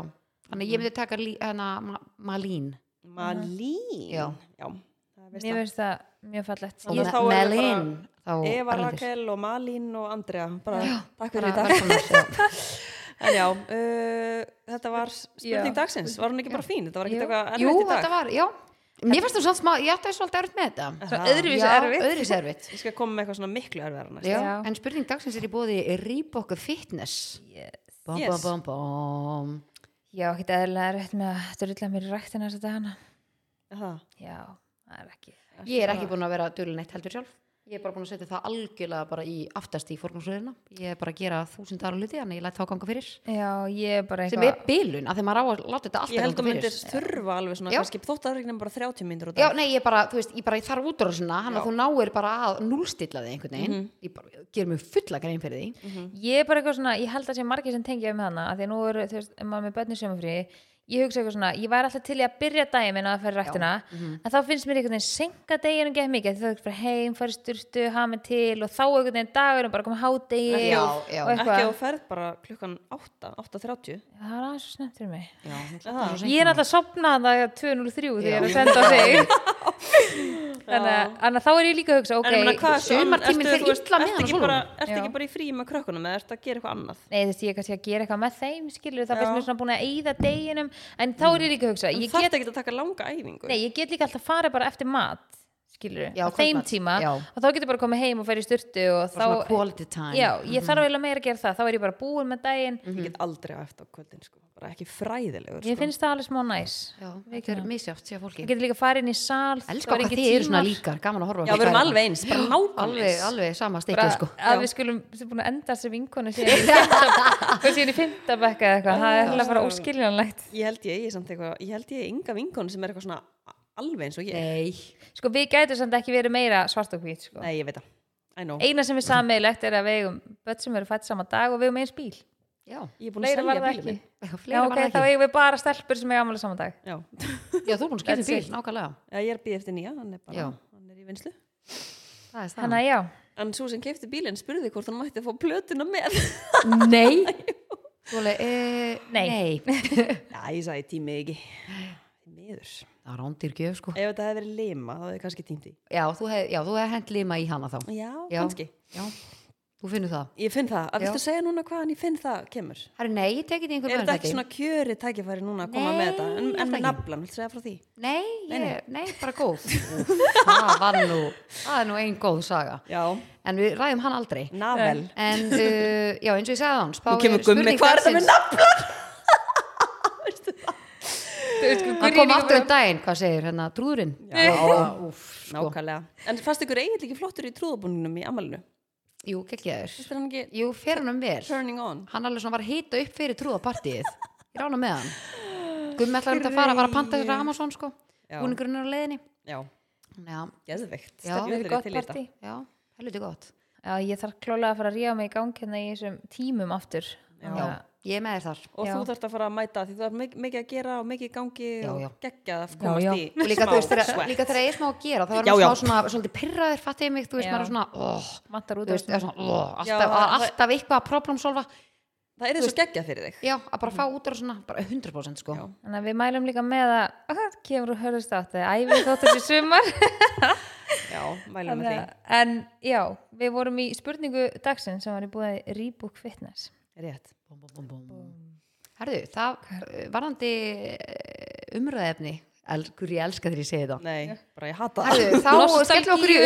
A: Þannig ég myndi taka lí, hana, ma, Malín.
B: Malín
A: Já.
B: það veist
C: mér finnst það mjög fallett
A: Og
B: Ég-
A: Ma-
B: þá er það
A: Malín. þá
B: Eva
A: erlendir.
B: Rakel og Malín og Andrea bara takk
A: Bara
B: fyrir í dag
A: velkomnar, já.
B: en já, uh, þetta var spurning dagsins, var hún ekki bara fín þetta var ekki
C: Jú.
B: eitthvað
A: Jú,
B: erfitt í dag
A: þetta var, já Mér fannst þú samt smá, ég átti svolítið erfitt með þetta
B: Aha.
C: öðruvísi erfitt.
A: öðruvísi erfitt
B: ég skal koma með eitthvað svona miklu erfiðar næst
A: já.
C: Já.
A: En spurning dagsins er í bóði Reebok Fitness bom,
B: Yes.
A: bom, bom, bom.
C: já, ekki eðlilega rétt með að drulla mér í ræktina þess að dagana
B: það,
C: já, það er ekki
A: Ég er ekki búin að vera dölun eitt heldur sjálf Ég er bara búin að setja það algjörlega bara í aftast í forgangsröðina Ég er bara að gera þúsund ára hluti Þannig ég læt þá ganga fyrir
C: já, ég er bara
A: Sem
C: eitthvað
A: er bylun, af því maður á að láta þetta alltaf
B: ég
A: ganga
B: held að
A: fyrir
B: myndir þurfa alveg svona
A: Já.
B: kannski þótt að regnum bara 30 myndir
A: Já, nei, ég bara, þú veist, ég bara ég þarf útrásina Þannig að þú náir bara að núlstilla þig einhvern veginn Ég bara, ger mér fulla grein fyrir því
C: ég er bara eitthvað svona, ég held að sé margir sem tengja um hana, að því að nú eru, þú veist, ef maður er með börnir sjöfumfrí, ég hugsa eitthvað svona ég væri alltaf til í að byrja daginn minn á að fara í ræktina
A: mhm.
C: en þá finnst mér einhvern veginn senka deginum geð mikið, því þá er ekki fyrir heim, fara í sturtu hafa mig til og þá einhvern veginn dagurum bara koma hádegi
A: Já,
C: og,
A: já.
C: og
B: ekki
C: eitthvað
B: að þú ferð bara klukkan 8, 8.30
C: það er aðeins svo snemt fyrir mig
A: Já,
B: það.
A: svo seint
C: ég er alltaf að sopna það 203 þegar ég er að
A: Já.
C: senda á þig þannig að- þannig að þá er ég líka að hugsa
B: en ég meina
C: ok,
B: hvað,
A: sumartíminn
B: ertu-
A: fer
B: þú veist,
A: illa með
B: ertu
A: hann á
B: ekki bara-
A: sólunum.
B: ertu ekki
C: Já.
B: bara í frí með krökkunum eða ertu að gera eitthvað annað
C: Nei, þú veist, ég er kannski að gera eitthvað með þeim, skilur, það
B: Já.
C: finnst mér svona búin að eyða deginum, en þá er ég líka að hugsa,
B: en
C: ég
B: það get ekki að taka langa æfingu
C: Nei, ég get líka alltaf farið bara eftir mat skilur
A: Já,
C: á þeim
A: kvöldmat.
C: tíma
A: Já.
C: og þá getur bara komið heim og fer í styrtu og
A: Bara svona Mhm.
C: þá,
A: quality time
C: já, ég þarf eiginlega meira að gera það þá er ég bara búin með daginn
A: Mm,
B: ég
A: Mhm.
B: get aldrei á eftir á kvöldin sko. bara ekki fræðilegur sko.
C: ég finnst það alveg smá næs
A: Já, þetta er misjátt sér fólki
C: ég getur líka farið inn í sal
A: Elskar
C: það eru
A: hvað
C: engir
A: þið eru svona
C: tímar.
A: líkar, gaman að horfa á
B: já,
A: fólk
B: við erum
A: væri
B: alveg eins, bara
A: það. alveg,
B: nákvæmleins
A: alveg sama
C: bara
A: steikið sko
C: að við skulum sem búin að enda sem vinkonu síðan í fimmta- og síðan í fymta bekka eða eitthvað það er alltaf bara óskiljanlegt
B: ég held ég, ég, samt eitthvað, ég held ég ynga vinkonu sem er eitthvað svona alveg eins og ég
A: Nei,
C: sko við gætum samt ekki verið meira svart og hvít sko.
B: nei, ég veit það, I know
C: eina sem er sammeðilegt er að við eigum börn sem eru fætt sama dag og við eigum eins bíl
A: já,
B: ég er búin að
C: fleira var
B: selja bílum
C: það ekki
B: minn
A: já,
C: Já,
A: fleira
C: ok,
A: var
C: þá
A: það ekki
C: eigum við bara stelpur sem eiga ámæli saman dag
B: já.
A: Já, þú er búin að skipta um
C: That's
A: bíl,
C: it.
A: nákvæmlega
B: já, ég er að býða eftir nýja, hann er
A: Já.
B: bara hann er í vinslu
A: Það er
C: Þannig að já,
B: en svo sem kefti bílinn spurði hvort hann mætti að fá plötuna með
A: staðan Nei Svoleið, eh,
C: Nei.
A: Nei,
B: já, ég sagði tími ekki meður,
A: það er ándir gjöf sko
B: ef þetta hefði verið lima þá hefði ég kannski tímti,
A: Já, þú hefði hend lima í hana þá
B: já,
A: Já.
B: kannski
A: Já, þú finnur það
B: ég finn það, að
A: Já.
B: viltu segja núna hvaðan ég finn það kemur
A: Herru, nei, ég tekið í
B: er
A: einhverjum
B: þetta ekki svona kjöri tækifæri núna að koma
A: Nei,
B: með þetta, en,
A: ég held
B: en með
A: ekki.
B: naflan, viltu segja frá því
A: Nei,
B: Nei,
A: ég,
B: nei.
A: nei, bara góð Úff, Það var nú, það er nú ein góð saga
B: já,
A: En við ræðum hann aldrei
B: navel
A: En uh, já, eins og ég sagði hans
B: Nú kemur gummi, hvað er þetta með nafn?
C: þú veist sko,
A: Hann kom aftur um daginn, hvað segir hérna, trúðurinn
B: Já,
A: Úf, sko,
B: nákvæmlega. En fannst ykkur eiginlega ekki flottur í trúðabúningnum í amalinu?
A: jú, geggjaður
B: Þetta er hann ekki
A: Jú, fer hann um vel
B: turning on.
A: Hann alveg svona var að hita upp fyrir trúðapartíið Ég rána með hann Gummi ætlar um þetta að fara, var að panta sér Amazon sko
B: Já.
A: Búningurinn er á leiðinni
B: Já,
A: Já,
B: geðveikt.
A: Já,
B: Stefán,
A: þetta
B: ég
C: Þetta er
B: er
C: gott
B: til í þetta.
C: partí
A: já, helviti gott
C: Já, ég þarf klálega að fara að ríða mig í gang hérna í þessum tímum aftur
B: Já.
A: Já, ég er með þér þar
B: Og þú
C: Já.
B: þarft að fara að mæta því þú er mikið að gera og mikið í gangi
A: Já, já.
B: og geggjað að
C: já.
B: komast í
A: og líka,
B: smá
A: þú veist, þegar,
B: svett.
A: líka þegar ég er smá að gera þá er
B: Já, já.
A: maður smá svona, svolítið pirraður fattið mig, þú veist,
C: Já.
A: maður er svona oh,
C: Mattar út
A: þú veist, er svona, oh, alltaf,
B: Já,
A: það er
B: það-
A: alltaf eitthvað að problemsolva
B: Það er eins og geggjað fyrir þig.
A: já, að bara fá út úr svona, bara 100% sko
B: Já.
C: Þannig að við mælum líka með að aha, kemur og hörðust átt eða æfið þóttur sér sumar
B: Já, mælum með því.
C: Þannig að- En já, við vorum í spurningu dagsinn sem var í búið Rebook Fitness
B: Rétt.
A: bum, bum, bum, bum. herðu, það eh, varðandi eh, umræðefni elgur ég elska þegar ég segi það
B: Nei, bara ég hata það.
A: herðu, þá
C: Nostalgíu
A: skellum okkur í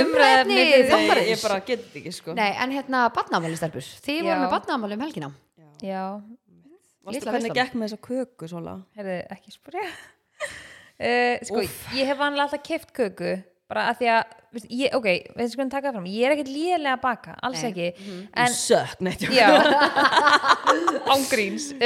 A: umræðefni
C: umræðuefni fyrir-
B: Nei,
A: þáttarins.
B: ég bara get þetta ekki, sko.
A: nei, en hérna, badnamæli stelpur þið
C: Já.
A: voru með badnamæli um helgina
B: Já.
C: Já,
B: Varstu
A: Litla
B: hvernig
A: veislan.
B: gekk með þessa köku, Sola?
C: Herðu, ekki spyrja. Uh, sko, ég hef vanlega alltaf keft köku bara að því að, veist, ég, ok, við skulum taka það fram, ég er ekkert lélega að baka, alls
A: Nei.
C: ekki,
B: En... Sök, neitt,
C: en, já, ángríns, uh,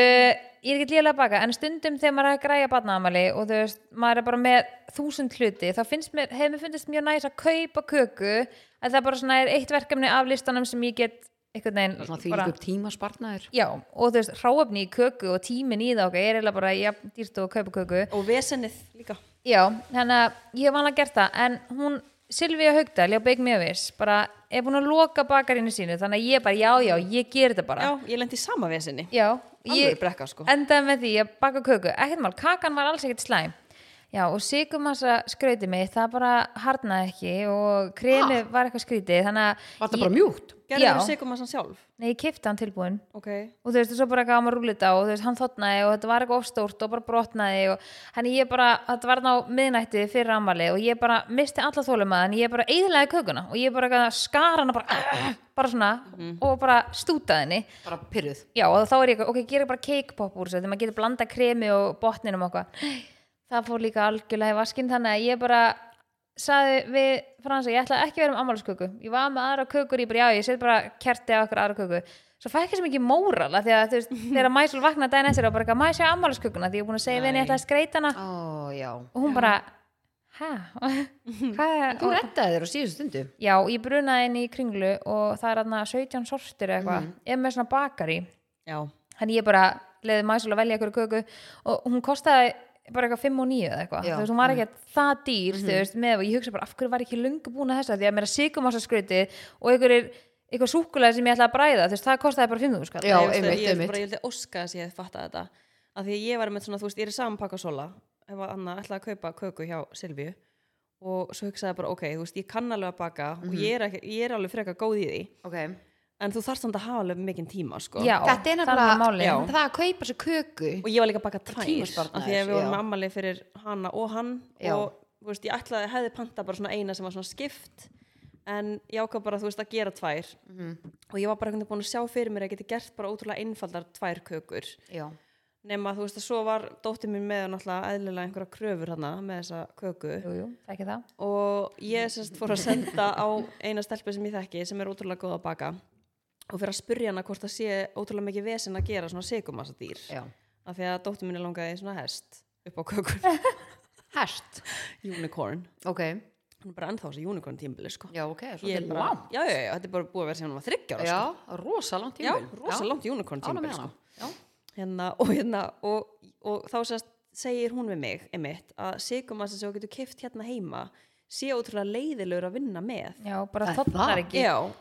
C: ég er ekkert lélega að baka, en stundum þegar maður er að græja barnaðamæli og þú veist, maður er bara með þúsund hluti, þá finnst mér, hefur mér fundist mjög næs að kaupa köku, að það bara svona er eitt verkefni af listanum sem ég get einhvern veginn,
A: svona því líka upp tíma spartnaður
C: já, og þú veist, hráöfni í köku og tímin í það, ok, er eiginlega bara, já, dýrt og kaupa köku,
B: Og vesennið líka.
C: Já, þannig að ég hef vanlega gert það en hún, Silvía Haugdal, já, Bake Me a Wish bara er búin að loka bakarinu sínu þannig að ég bara, já, já, ég ger þetta bara
B: Já, ég lendi í sama vesenni.
C: já
B: Alveg
C: ég
B: brekka, sko.
C: endaði með því að baka köku ekkert mál, kakan var alls ekkert slæm já, og sigumassa skrauti mig það bara harnaði ekki og krenu var eitthvað skrítið þannig að
A: var það
C: ég,
A: bara mjúkt
B: Gerður
C: Já.
B: sigum að hann sjálf?
C: nei, ég kipta hann tilbúin
B: Ok.
C: og þú veist, og svo bara gaf maður rúlita og þú veist, hann þotnaði og þetta var eitthvað ofstórt og bara brotnaði og hann ég bara, þetta var ná miðnætti fyrir ammali og ég bara misti alla þólum að hann, ég bara eðlaði kökuna og ég bara eitthvað skar hana bara, bara svona
A: Mhm.
C: og bara stútaði henni
A: bara pyrruð
C: já, og þá er ég, eitthvað, ok, gera bara cake pop úr þessu þegar maður getur blanda kremi og botninum og eitthvað það fór líka algjörlega í vaskinn þannig að ég bara saði við fransa, ég ætla ekki að vera með ammálsköku ég var með aðra kökur, ég bara já, ég set bara kerti á okkur aðra köku svo fæk ég sem ekki móral af því að þú veist, þegar Mæsul vaknaði daginn eftir og bara eitthvað, Mæsul ammálskökuna því ég er búin að segja við henni, ég ætla að skreita hana
A: ó, já
C: og hún bara, hæ? Hvað?
A: þú reddaði þér á síðustu stundu
C: Já, ég brunaði henni í kringlu og það er aðna 17 sortir eða
A: Mhm.
C: eitthvað, ef með svona bakari
B: Já.
C: þannig ég bara leiði mæsul að velja ykkur köku og hún kostaði bara eitthvað 5 og 9 eða eitthvað,
A: Já,
C: þú veist, hún var ekki það dýr þú veist, með, og ég hugsa bara, af hverju var ég ekki lungu búin að þessa, því að mér er sigumassa skröti og ykkur er, ykkur súkulega sem ég ætla að bræða þú veist, það kostaði bara 5 skall
A: Já,
B: Ég veist það,
A: einmitt,
B: ég veist
A: einmitt.
B: bara, ég vildi óska þess að ég hefði fattað þetta af því að ég var með svona, þú veist, ég er í saman pakka sola ef að Anna ætlaði að kaupa köku hjá Silvíu og svo hugsaði bara, ok, þú veist, ég kann alveg að baka
A: Mhm.
B: og ég er, ekki, ég er alveg frekar góð í því
A: okay.
B: en þú þarfst samt að hafa alveg mikinn tíma, sko
C: Já,
A: þetta er
C: þannig
A: nefnilega
C: málið.
A: Já. það að kaupa sér köku
B: og ég var líka að baka tvær af því
A: tímasparnaður,
B: að við vorum
A: já.
B: ammali fyrir hana og hann
A: Já.
B: og þú þú veist, ég ætlaði, hefði panta bara svona eina sem var svona skipt en ég ákvað bara, þú veist, að gera tvær
A: Mhm.
B: og ég var bara einhvern veginn búin að sjá fyrir mér að ég geti gert bara ótrúlega einfaldar tvær kökur
A: já,
B: nema þú veist að svo var dóttir mín með náttúrulega eðlilega einhverja kröfur hana með þessa köku
C: jú, jú, það ekki það
B: og ég sérst fór að senda á eina stelpu sem ég þekki sem er ótrúlega góð að baka og fyrir að spyrja hana hvort það sé ótrúlega mikið vesen að gera svona sigumassa dýr
A: já
B: af því að dóttir mín er langaði í svona hest upp á kökur,
A: Hest,
B: unicorn
A: ok
B: hún er bara ennþá þessi unicorn tímbili sko
A: Já, ok, svo
B: Ég
A: til
B: er
A: bara
B: bara, já, já, já, þetta er bara búið að vera sem hún var þryggja ára
A: Já, rosa langt
B: sko. já,
A: tímabil
B: rosa langt unicorn
A: Ánægð með
B: tímbili sko
A: hana. Já,
B: hérna, og, hérna, og, og þá sérst, segir hún við mig einmitt, að sigumassa sem þú getur kift hérna heima sé ótrúlega leiðilegur að vinna með
C: já, bara
A: Það er það.
C: þotnar ekki
B: já, og,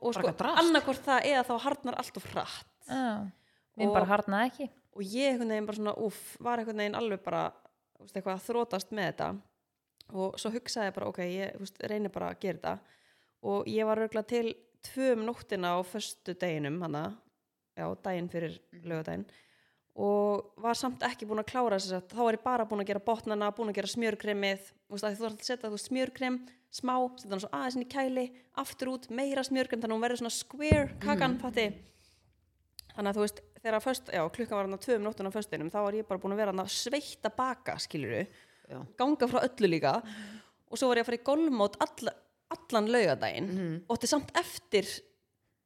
B: og sko,
A: eitthvað drasl.
B: annarkvort það eða þá harnar allt of hratt
C: Já. minn
B: Og-
C: bara harnaði ekki
B: og ég einhvern veginn bara svona, uff, var einhvern veginn alveg bara þú veist, eitthvað að þrótast með þetta og svo hugsaði ég bara, ok, ég þú veist, reyni bara að gera þetta og ég var röglega til tvö um nóttina á föstu deginum hana, já, daginn fyrir lögadaginn og var samt ekki búin að klára þess að þá var ég bara búin að gera botnana, búin að gera smjörkremið þú veist að þú ert að setja þú veist, smjörkrem smá, setja hann svo aðeins inn í kæli aftur út, meira smjörkrem, þannig að hún verður svona square kakan, fatti þannig að þú veist, þegar að föst, já, klukkan var hann að tvö um nóttuna á föstunum, þá var ég bara búin að vera hann að sveita baka, skilur
A: Já.
B: ganga frá öllu líka og svo var ég að fara í golfmót all, allan laugadaginn og þetta samt eftir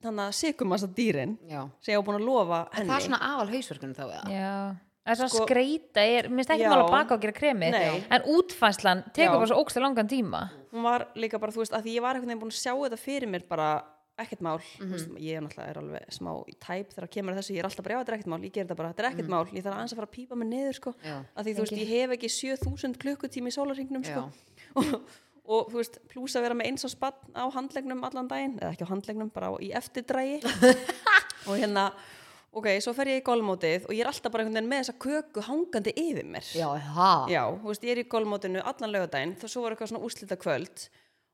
B: þannig að sikum að dýrin
A: já
B: sem ég var búin að lofa henni
A: Það er svona aðal hausverkunum þá eða
C: Já, það er svona
B: Sko-
C: skreita er, minnst ekki
B: Já.
C: mála baka og gera kremið
B: Nei.
C: en útfænslan tekur
B: Já.
C: bara svo ógstu langan tíma
B: hún var líka bara, þú veist, að því ég var einhvern veginn búin að sjá þetta fyrir mér bara ekkert mál,
A: Mhm.
B: mm veist, ég er náttúrulega er alveg smá í tæp þegar kemur að þessu, ég er alltaf bara, já, þetta er ekkert mál, ég ger þetta bara, þetta er ekkert mál, ég þarf aðeins að fara að pípa mig niður, sko,
A: Mhm. Já.
B: að því, þú veist, ég hef ekki 7000 klukkutími í sólarhingnum, sko, og, og, þú veist, plús að vera með eins og spann á handlegnum allan daginn, eða ekki á handlegnum, bara á, í eftirdrægi, og hérna, ok, svo fer ég í golfmótið og ég er alltaf bara einhvern veginn með þessa köku hangandi yfir mér.
A: Já, það
B: Já, þú veist, ég er í golfmótinu allan lögadaginn, þá svo var eitthvað svona úslita kvöld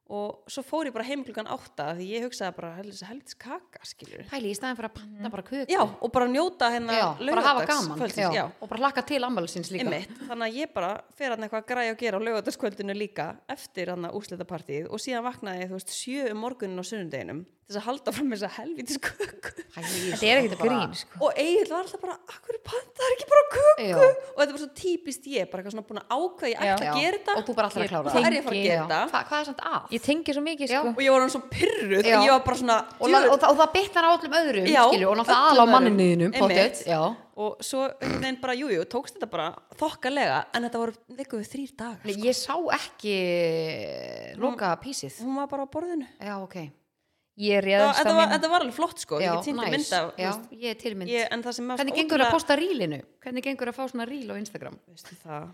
B: og svo fór ég bara heim klukkan átta af því ég hugsaði bara, helvits, helvits kaka, skilur
A: Pæli, í staðin fyrir að panta bara kök
B: Já, og bara njóta hérna
A: Já, bara hafa gaman
B: laugardagskvöldsins, já,
A: Og bara hlakka til ammælisins líka
B: einmitt, þannig að ég bara fer hann eitthvað að græja og gera á lögadagskvöldinu líka eftir hann að úslita partíð og síðan vaknaði ég, þú veist, sjö um morgunin á sunnudeginum til þess að halda fram þessa helvitis köku
A: Pæli,
C: Þetta er ekkert grín sko.
B: og Egil var alltaf bara, akkur pantaðar ekki bara köku
A: Já.
B: og þetta var svo típist ég, bara eitthvað svona búin að ákveða ég
C: Já.
B: ætla að gera þetta
A: Og þú bara alltaf að klára
B: Þá er ég að fara að
C: Tengi,
B: gera þetta
A: Hva, Hvað er samt af?
C: Ég tengi svo mikið
A: Já.
C: sko.
B: og ég var hann svo pyrruð
A: Já.
B: og ég var bara svona
A: Og, la,
B: djöfull.
A: og, það, og það bitnar á öllum öðrum
B: Já,
A: skilju, og náttúrulega
B: öllum
A: aðal á
B: öðrum.
A: manninuðinum
B: Einmitt.
A: pottet, já,
B: og svo einhvern veginn bara, jújú, jú, tókst þetta bara þokkalega, en þetta voru vikuð þrýr dagar
A: Nei, ég sá ekki eh, loka písið
B: hún var bara á borðinu
A: já, ok,
C: Ég
B: Þa,
C: réðast á
B: þetta, var,
C: mín
B: þetta var alveg flott sko,
A: já,
B: ég týndi
A: næs.
B: mynd af þú
A: já,
B: veist,
A: ég er tilmynd
B: ég, en það sem mest
A: hvernig gengur að posta rílinu? hvernig gengur að fá svona ríl á Instagram?
B: posta það,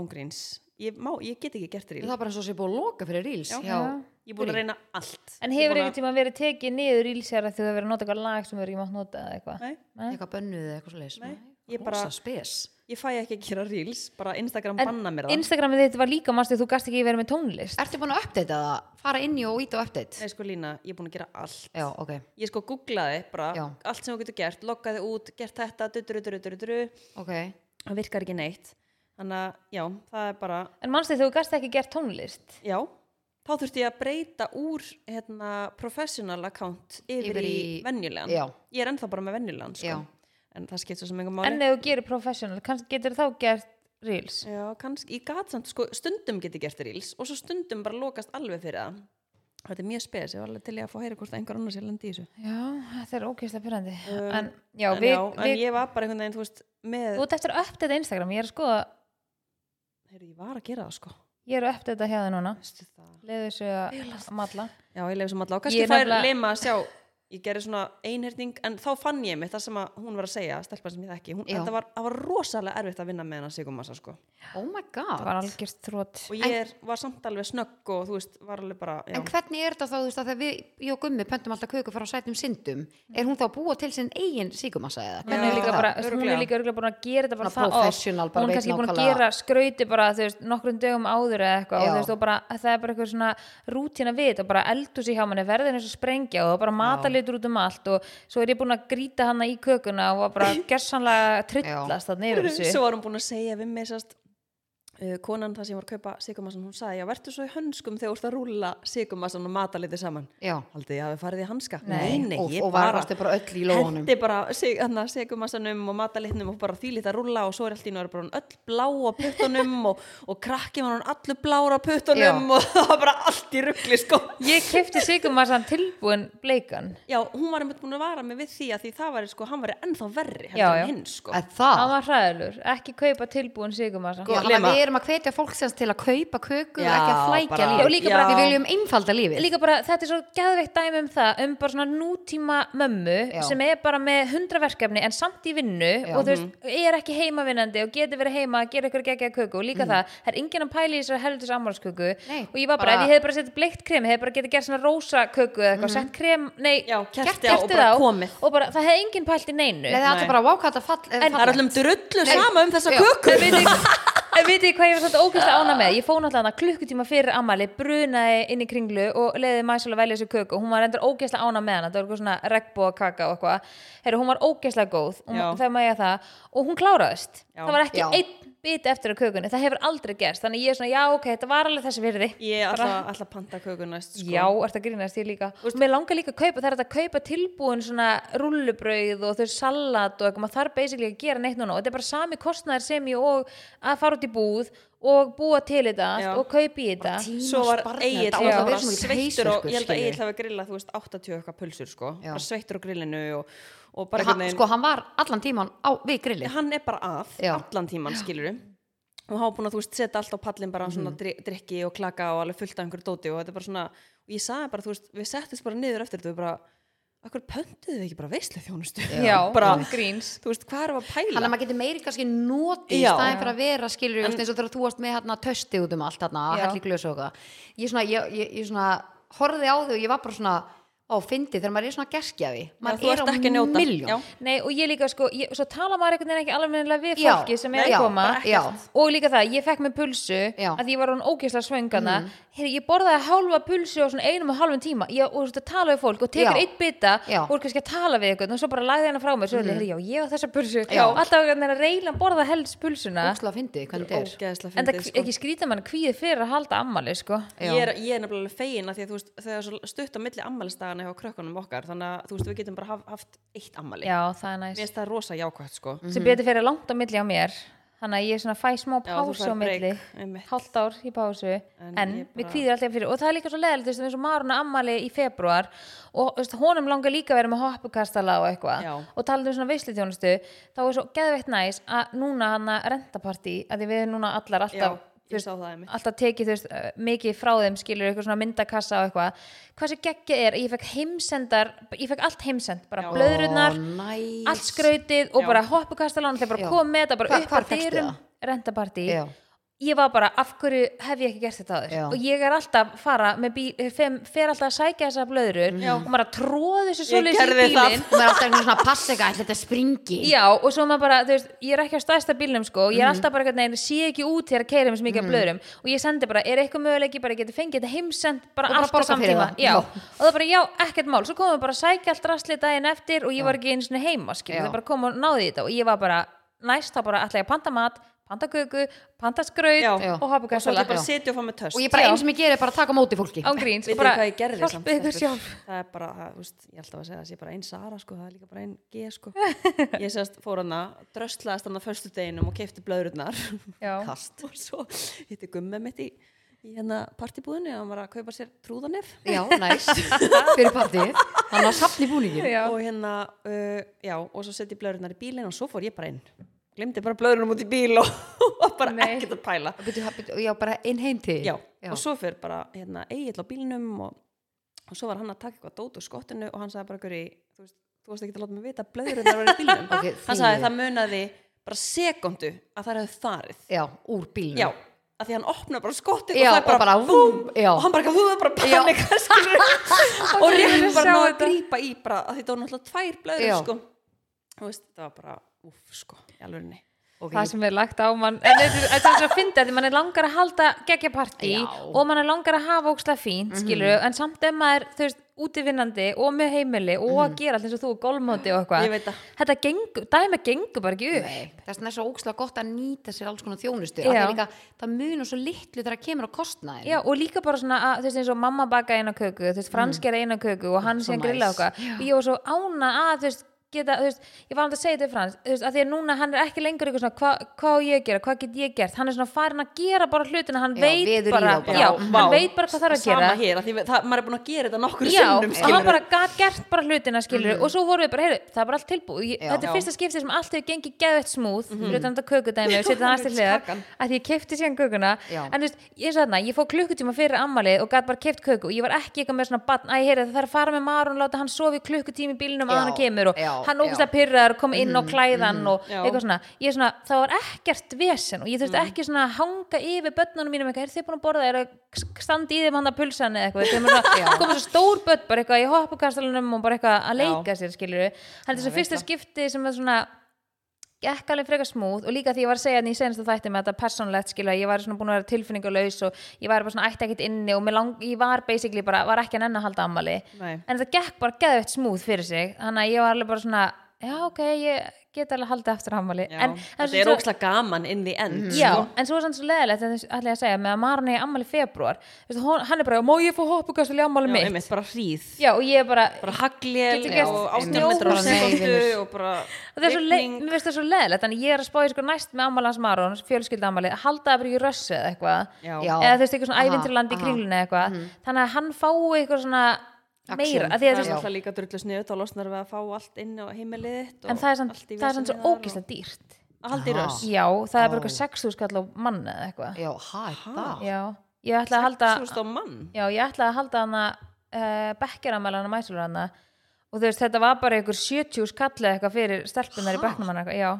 B: ángríns ég, má, ég get ekki gert ríl
A: það er bara eins og sé búið að loka fyrir ríls
B: Já.
A: já,
B: ég er búin að reyna allt
C: En
B: Ég
C: hefur
B: búin
C: einhvern tíma verið tekið niður ílsjara þegar þú hefur verið að nota eitthvað lag sem þú hefur ekki mátt nota eða eitthvað
B: Nei.
C: Nei.
A: eitthvað bönnuð eða eitthvað svo leis
B: Nei, ég bara-
A: spes
B: ég fæ ekki að gera ríls, bara Instagram banna mér það
C: Instagramið þitt var líka mástu þú gast ekki verið með tónlist
A: ertu búin að uppdata það? fara inn í og íta á uppdate?
B: Nei, sko Lína, ég er búin að gera allt
A: já, ok,
B: ég sko googlaði bara
A: Já.
B: allt sem þú getur gert, loggaði út, gert þetta dutru, dutru, dutru, dutru,
A: ok
B: það virkar ekki neitt þannig að já, það er bara
C: En manstu þú gast ekki gert tónlist
B: já, þá þurfti ég að breyta úr hérna, professional account yfir,
A: Yfir
B: í,
A: í-
B: venjulegan
A: Já.
B: ég er ennþá bara með venjulegan sko.
A: Já.
B: en það skiptir sem engum máli
C: En ef þú gerir professional, kannski getur þá gert reels
B: já, kannski, ég gat samt, sko, stundum geti gert reels og svo stundum bara lokast alveg fyrir það þetta er mjög spes, ég var alveg til ég að fá að heyra hvort einhver annars ég lendi í þessu
C: Já, þetta er ókvæslega pyrrandi
B: Um,
C: En já,
B: en,
C: við,
B: já, en
C: við,
B: ég var bara einhvern veginn, þú veist með,
C: þú ert eftir að uppdata Instagram Ég er að skoða,
B: heyrðu, ég var að gera það sko
C: ég er að uppdata hjá það núna
B: Veistu það?
C: Leðu þessu að malla
B: Já, ég leif sem allá.
C: Ég
B: Kannski
C: er
B: fær
C: nefnilega-
B: nefnilega... að sjá, ég gerði svona einherning, en þá fann ég mitt það sem að hún var að segja, stelpa sem ég þekki. Hún,
A: Já.
B: þetta var, það var rosalega erfitt að vinna með hennar sigumassa, sko.
A: oh my
C: Það
A: god
C: var algjörst þrótt
B: Og ég er, var samt alveg snögg og þú veist, var alveg bara, já.
A: En hvernig er þetta þá, þú veist, að þegar við, ég og Gummi pöntum alltaf köku frá sætum syndum, er hún þá að búa til sinn eigin síkumassa eða?
C: Hún
B: Já,
C: er
A: Hvernig
C: líka
A: það?
C: bara, hún er
B: örugglega.
C: líka örgulega búin að gera þetta bara
A: Svona
C: það oft.
A: professional, bara
C: Hún
A: veit
C: er kannski búin að
A: nákvæmlega-
C: gera skrauti bara, þú veist, nokkrum dögum áður eða
A: Já.
C: eitthvað og þú veist, og bara, það er bara eitthvað svona rútína við þetta, bara eldus í hjá manni verðin eins og sprengja og bara matalitur út um allt og svo er ég búin að grýta hana í kökuna og var bara gersanlega trillast það neyfur þessu
B: Svo var hún búin að segja við mig, sérst, uh, konan það sem var að kaupa sigumassan hún sagði, já, vertu svo í hönskum þegar þú ert að rúlla sigumassan og mataliti saman
A: já
B: haldið ég hafi farið í hanska
C: Nei,
B: nei,
A: og,
B: ég
A: og var varstu bara öll í lóðunum
B: hendi bara sig- þarna, segumassanum og matalitnum og bara þýlit að rúlla og svo er allt í náður bara hún öll blá á puttunum og, og krakki var hún allur blár á puttunum
A: Já.
B: og það var bara allt í ruggli sko
C: Ég kefti sigumassan tilbúin bleikan
B: já, hún var einmitt búin að vara mig við því að því það var sko, hann var ennþá verri
C: Já,
B: heldur
C: já.
B: en hinn sko
A: að það
C: Hann var hræðilur, ekki kaupa tilbúin sigurmassa
A: Sko, þannig
B: Lema.
A: að við erum að hvetja fólksins til að kaupa köku
B: Já,
A: og ekki að flækja
B: bara-
A: lífið og líka bara
B: Já.
A: að við viljum einfalda lífið
C: Líka bara, þetta er svo geðveikt dæmi um það um bara svona nútíma mömmu
A: Já.
C: sem er bara með hundra verkefni en samt í vinnu
A: Já. Mhm.
C: og þú veist, er ekki heimavinnandi og getur verið heima að gera ykkur geggja köku og líka það, það er enginn að pæla í þessari heldur sammálsköku
A: Mhm. Nei,
C: og ég var bara,
A: bara- Mhm.
C: ef ég hefði bara sett bleikt krem, hefði bara getið gert svona rósa köku eða eitthvað, sett krem, nei
B: Já, kerti á og
C: kertið
B: bara
C: á
B: komið.
C: og bara, það hefði enginn pælt í neinu
A: Nei, það er alltaf
B: Nei.
A: bara vákvæmt að fall
C: En-
B: það er allum drullu sama um þessa
A: Já.
B: köku
C: En vitið en vitið hvað ég var svolítið ógæst að ána með? Ég fóð náttúrulega hana klukkutíma fyrir ammali, brunaði inn í kringlu og leiði mæsul að velja þessu köku og hún var endur ógæst að ána með hana, það var eitthvað svona regnbóa kaka og eitthvað. Herru, hún var ógæst að góð, hún,
B: Já.
C: þegar maður ég það, og hún kláraðist.
B: Já.
C: Það var ekki
A: Já.
C: einn bit eftir af kökunni, það hefur aldrei gerst, þannig ég er svona, já, ok, þetta var alveg þessi virði.
B: ég ætla ætla að panta köku næst sko
C: Já, ert að grínast ég líka og mér langar líka að kaupa, það er hægt að kaupa tilbúin svona rullubrauð og þau salat og eitthvað, maður þarf basically ekki að gera neitt núna og þetta er bara sami kostnæður sem ég og að fara út í búð og búa til þetta allt
B: Já.
C: og kaupa í þetta
B: svo var Egil
A: það
C: Já.
A: var
B: bara
A: bara
B: sveittur og ég held að Egil hafi grillað þú veist 80 eitthvað pulsur sko
A: sko, Já.
B: bara sveittur á grillinu og, og bara
A: hann,
B: einhvern veginn-
A: sko hann var allan tíman á við grillið
B: hann er bara að
A: Já.
B: allan tíman skilur og hafa búin að þú veist setja allt á pallin bara
A: Mhm.
B: svona dri- drikki og klaka og alveg fullt af einhverju dóti og þetta er bara svona og ég sagði bara þú veist við settumst bara niður eftir þetta við bara akkur pöntuðu við ekki bara veislu þjónustu
C: já,
B: bara
C: án gríns
B: þú veist hvað erum við að
A: hann
B: pæla
A: að maður getur meiri kannski notið í
B: Já.
A: staðin fyrir að vera skilur en, eins og þegar þú varst með hérna tösti út um allt hérna, að
C: Já.
A: helli glös og eitthvað ég svona, ég, ég, ég svona horfði á þau og ég var bara svona á fyndi þegar maður er svona gerskjafi
B: þú
A: maður er á
B: ert ekki að njóta. Já.
A: miljón
C: Nei, og ég líka sko, ég, svo tala maður einhvern veginn ekki alveg meðinlega við
A: Já,
C: fólki sem er
A: nei,
C: að
A: já,
C: koma
A: bara ekkert.
C: og líka það, ég fekk mér pulsu
A: Já. Mhm.
C: að ég var hún ógeðslega svöngana mm. ég borðaði hálfa pulsu á svona einum og hálfum tíma ég, og þú veist að tala við fólk og
A: Já.
C: tekur eitt bita
A: Já. Mhm.
C: og er kannski að tala við eitthvað og svo bara lagði hennar frá mér, svo er mm. já, ég á þessa pulsu
A: Já.
C: alltaf einhvern veginn að reyna að borða helst pulsuna
A: óslega fyndi hvernig þetta er
B: ógeðslega
C: en það
B: fyndið sko
C: ekki skrýta mann kvíði fyrir að halda ammali sko.
A: Já.
B: ég er, ég er nefnilega alveg fegin að því að þú veist þegar svo stutt á milli ammælistagana hjá krökkunum okkar þannig að þú veist við getum bara haf, haft eitt ammæli
C: já, það er
B: mér
C: næst
B: finnst það rosa jákvæmt sko
A: Mm.
C: sem betur fyrir langt á milli á mér þannig að ég svona fæ smá
B: Já, þú
C: pásu
B: færð
C: á milli
B: break, einmitt.
C: hálft ár í pásu en,
B: En ég
C: við
B: bara-
C: kvíðir alltaf fyrir og það er líka svo leðilegt, þú veist, eins og Maruna ammali í februar og þú veist, honum langar líka að vera með hoppukastala og eitthvað
B: Já.
C: og talandi um svona veisluþjónustu þá er svo geðveitt næs að núna hann að rentapartí að því við erum núna allar
B: já,
C: alltaf
B: ég
C: þú veist,
B: sá það einmitt
C: alltaf tekið þú veist, eh, mikið frá þeim skilur eitthvað svona myndakassa og eitthvað hvað sem geggja er, að ég fekk heimsendar ég fekk allt heimsend, bara
B: Já.
C: blöðrunar
A: næs.
C: allt skrautið og
B: Já.
C: bara hoppukastalán þeir bara
A: Já.
C: kom með þetta bara
A: Hvar-
C: upp
A: hvar
C: að
A: fékkstu
C: dyrum
A: það?
C: rentapartí
A: Já.
C: ég var bara, af hverju hef ég ekki gert þetta áður
A: Já.
C: og ég er alltaf fara með bíl, fem, fer alltaf að sækja þessa blöður
A: Mhm.
B: Já.
C: og maður að tróða þessu svoleiðis í
B: gerði það.
C: bílinn
A: og maður er alltaf einhvern svona að passa eitthvað ætli þetta springi
C: Já, og svo maður bara, þú veist, ég er ekki á stærsta bílnum sko, og ég
A: Mhm.
C: er alltaf bara eitthvað, neina, sé ekki út þegar að keira mér svo mikið af blöðurum og ég sendi bara, er eitthvað möguleiki, bara ég geti fengið þetta heimsend bara
A: Og bara
C: allt á
A: borga fyrir
C: samtíma
A: það.
C: já.
A: Já.
C: og það bara, já, ekkert mál, svo komum við bara að sækja allt rastlið daginn eftir og ég var ekki einu sinni heima, skiljum,
A: Já.
C: það bara kom og náði í þetta og ég var bara, næst, þá bara ætla ég að panta mat, panta köku, panta skraut
B: Já.
A: Já.
C: og
B: og svo
C: hoppukassola.
B: ætla ég bara
A: Já.
B: að setja og fá með töst
A: og ég bara
C: Já.
A: eins sem ég geri er bara að taka á móti fólki
C: Án gríns, og
B: Vitið
C: bara
B: hvað ég gerði samt
C: hjálpið ykkur
B: stelpur?
C: sjálf
B: Það er bara, það, þú veist, ég ætla að segja að það sé bara ein Sara sko, það er líka bara ein G sko Ég sérst fór hana, dröslaðast hana förstu deginum og kefti blöðrurnar
C: Já.
A: kast
B: og svo hitti gummið mitt í, í hérna partibúðinu og hann var að kaupa sér trúðanef
A: já, næs fyrir partíð hann var safn í búningin
C: Já.
B: og hérna, uh, já, og svo setti ég blöðrurnar í bílinn og svo fór ég bara inn Glemdi bara blöðrunum út í bíl og var bara
C: Nei.
B: ekkert að pæla
A: Bíddu, ha- bíddu, já, bara inn heim til
B: já, og svo fyrir bara hérna, eigill á bílnum og, og svo var hann að taka eitthvað dót úr skottinu og hann sagði bara hverju, þú veist, þú varst ekki að láta mig vita að blöðurinn var í bílnum
A: Ok,
B: hann sagði
A: þýðir.
B: það munaði bara sekundu að það hefði farið
A: já, úr bílnum
B: já, að því hann opnaði bara skottið
A: Já,
B: og það
A: og
B: bara,
A: bara vúm, já.
B: og hann bara, þú er bara panika skilur og rétt
C: Ég
B: bara
C: sá
B: náði að
C: þetta.
B: grípa í bara, að því þetta var náttúrulega tvær blöður
A: Já.
B: sko. og veist, það var bara, úff sko í alvörinni
A: Ok,
C: það
A: ég-
C: sem er lagt á mann en þetta er- þetta er svo að finna því mann er langar að halda geggja partí
A: Já.
C: og mann er langar að hafa ókslega fínt skilur, en samt ef maður þú veist, útivinnandi og með heimili og að gera allt eins og þú og golfmóti og eitthvað
B: Ég veit það.
C: þetta gengur, dæmi gengur bara ekki upp
A: þess vegna er svo ókslega gott að nýta sér alls konar þjónustu
C: Já.
A: það, líka, það munur svo litlu þegar það kemur á kostnaðin
C: Já, og líka bara svona, að, þú veist, eins og mamma baka eina köku, þú veist, fransk gera eina köku og hann
A: Mm. Svo
C: síðan grilla
A: næs.
C: okkar og ég var svo ána að, þú veist, geta, þú veist ég var um að segja þetta frans, þú veist, að því að núna hann er ekki lengur eitthvað svona, hva- hvað á ég að gera, hvað get ég gert hann er svona farin að gera bara hlutina hann
A: Já,
C: veit
A: veður í
C: bara,
A: þá bara.
C: já,
B: vá.
C: hann veit bara hvað þarf að
B: Sama
C: gera
B: hér, að því, við- það, maður er búin að gera þetta nokkur
C: Já,
B: sinnum
C: og
B: skilurðu.
C: hann bara gat gert bara hlutina skilur og svo vorum við bara, heyrðu, það er bara allt tilbúið
A: Mhm.
C: Ég-
A: Já. Mhm.
C: þetta
B: Já.
C: er fyrsta skipti sem allt hefur gengið geðvett smúð mm -hmm. hlutan þetta kökudæmi og setja það aðeins til hliðar
B: Kakan.
C: að ég kefti síðan kökuna
A: Já.
C: en þú veist, eins og þarna, ég fór klukkutíma fyrir ammalið og gat bara keft köku og ég var ekki eitthvað með svona batn, æ, heyrðu, það þarf að fara með Maron og láta hann sofa í klukkutími í bílnum að
A: Já,
C: hann kemur og
A: já,
C: hann
A: já.
C: ógustlega pyrraður og kom inn og klæðan og
B: Mhm, Já. Mhm.
C: eitthvað svona, ég er svona, það var ekkert vesen og ég þurfti ekki svona að hanga yfir börnunum mínum eitthvað, er þið búin að borða, er að standa í þeim hann að pulsan eða eitthvað, þeim er svona, koma svo stór börn bara eitthvað í hoppukastalunum og bara eitthvað að
B: Já.
C: leika sér, skilur við, þannig að þessu fyrsta skipti sem er svona, gekk alveg frekar smúð og líka því ég var að segja þannig í senasta þætti með þetta persónlegt skilja, ég var svona búin að vera tilfinningalaus og ég var bara svona ætti ekkert inni og mig lang, ég var basically bara, var ekki að nenni að halda ammali
B: Nei.
C: en það gekk bara geðveitt smúð fyrir sig þannig að ég var alveg bara svona já ok, ég get alveg að halda eftir ammali
B: Já,
C: en, en
B: þetta er ókslega gaman inn í end
C: Já, en svo er sann svo leðilegt ætla ég að segja, með að Marun er ammali í februar veistu, hon- hann er bara, má ég fó hoppukastul í ammali
B: mitt.
C: mitt?
B: Einmitt, bara hríð
C: Já, og ég er bara,
B: bara haglél
C: Getur gert-
B: og
A: Einmitt.
B: 18 metrar á
A: Bara nei,
B: sekundu
A: vinur.
B: og bara
C: Og það er svo, le
B: rigning.
C: mér finnst það svo leðilegt þannig ég er að spá í sko næst með ammalans Maron fjölskylda ammalið, halda það bara í rössu eða eitthvað
B: Já.
C: eða þú veist eitthvað svona
A: Aha,
C: ævinturland í
A: aha.
C: kringlunni eða eitthvað þannig að hann fái eitthvað svona meira, af því
B: það
C: að
B: er
C: það er
B: náttúrulega líka drullu sniðu þá losnar við að fá allt inn á heimilið þitt
C: svo en
B: og
C: það er sann,
B: allt í
C: það er sann svo
B: vesenið þar
C: ógísla dýrt
B: og allt í
A: Aha.
B: röss
C: já, það er bara eitthvað 6.000 kall á mann eða eitthvað
A: já hæ, það
C: já, ég ætla að halda
B: Súst á mann
C: já, ég ætla að halda hana uh, bekkjaramælana mæsulur hana og þú veist, þetta var bara einhver 70 kall eða eitthvað fyrir stelpunar í
A: Ha?
C: bekknum hana já,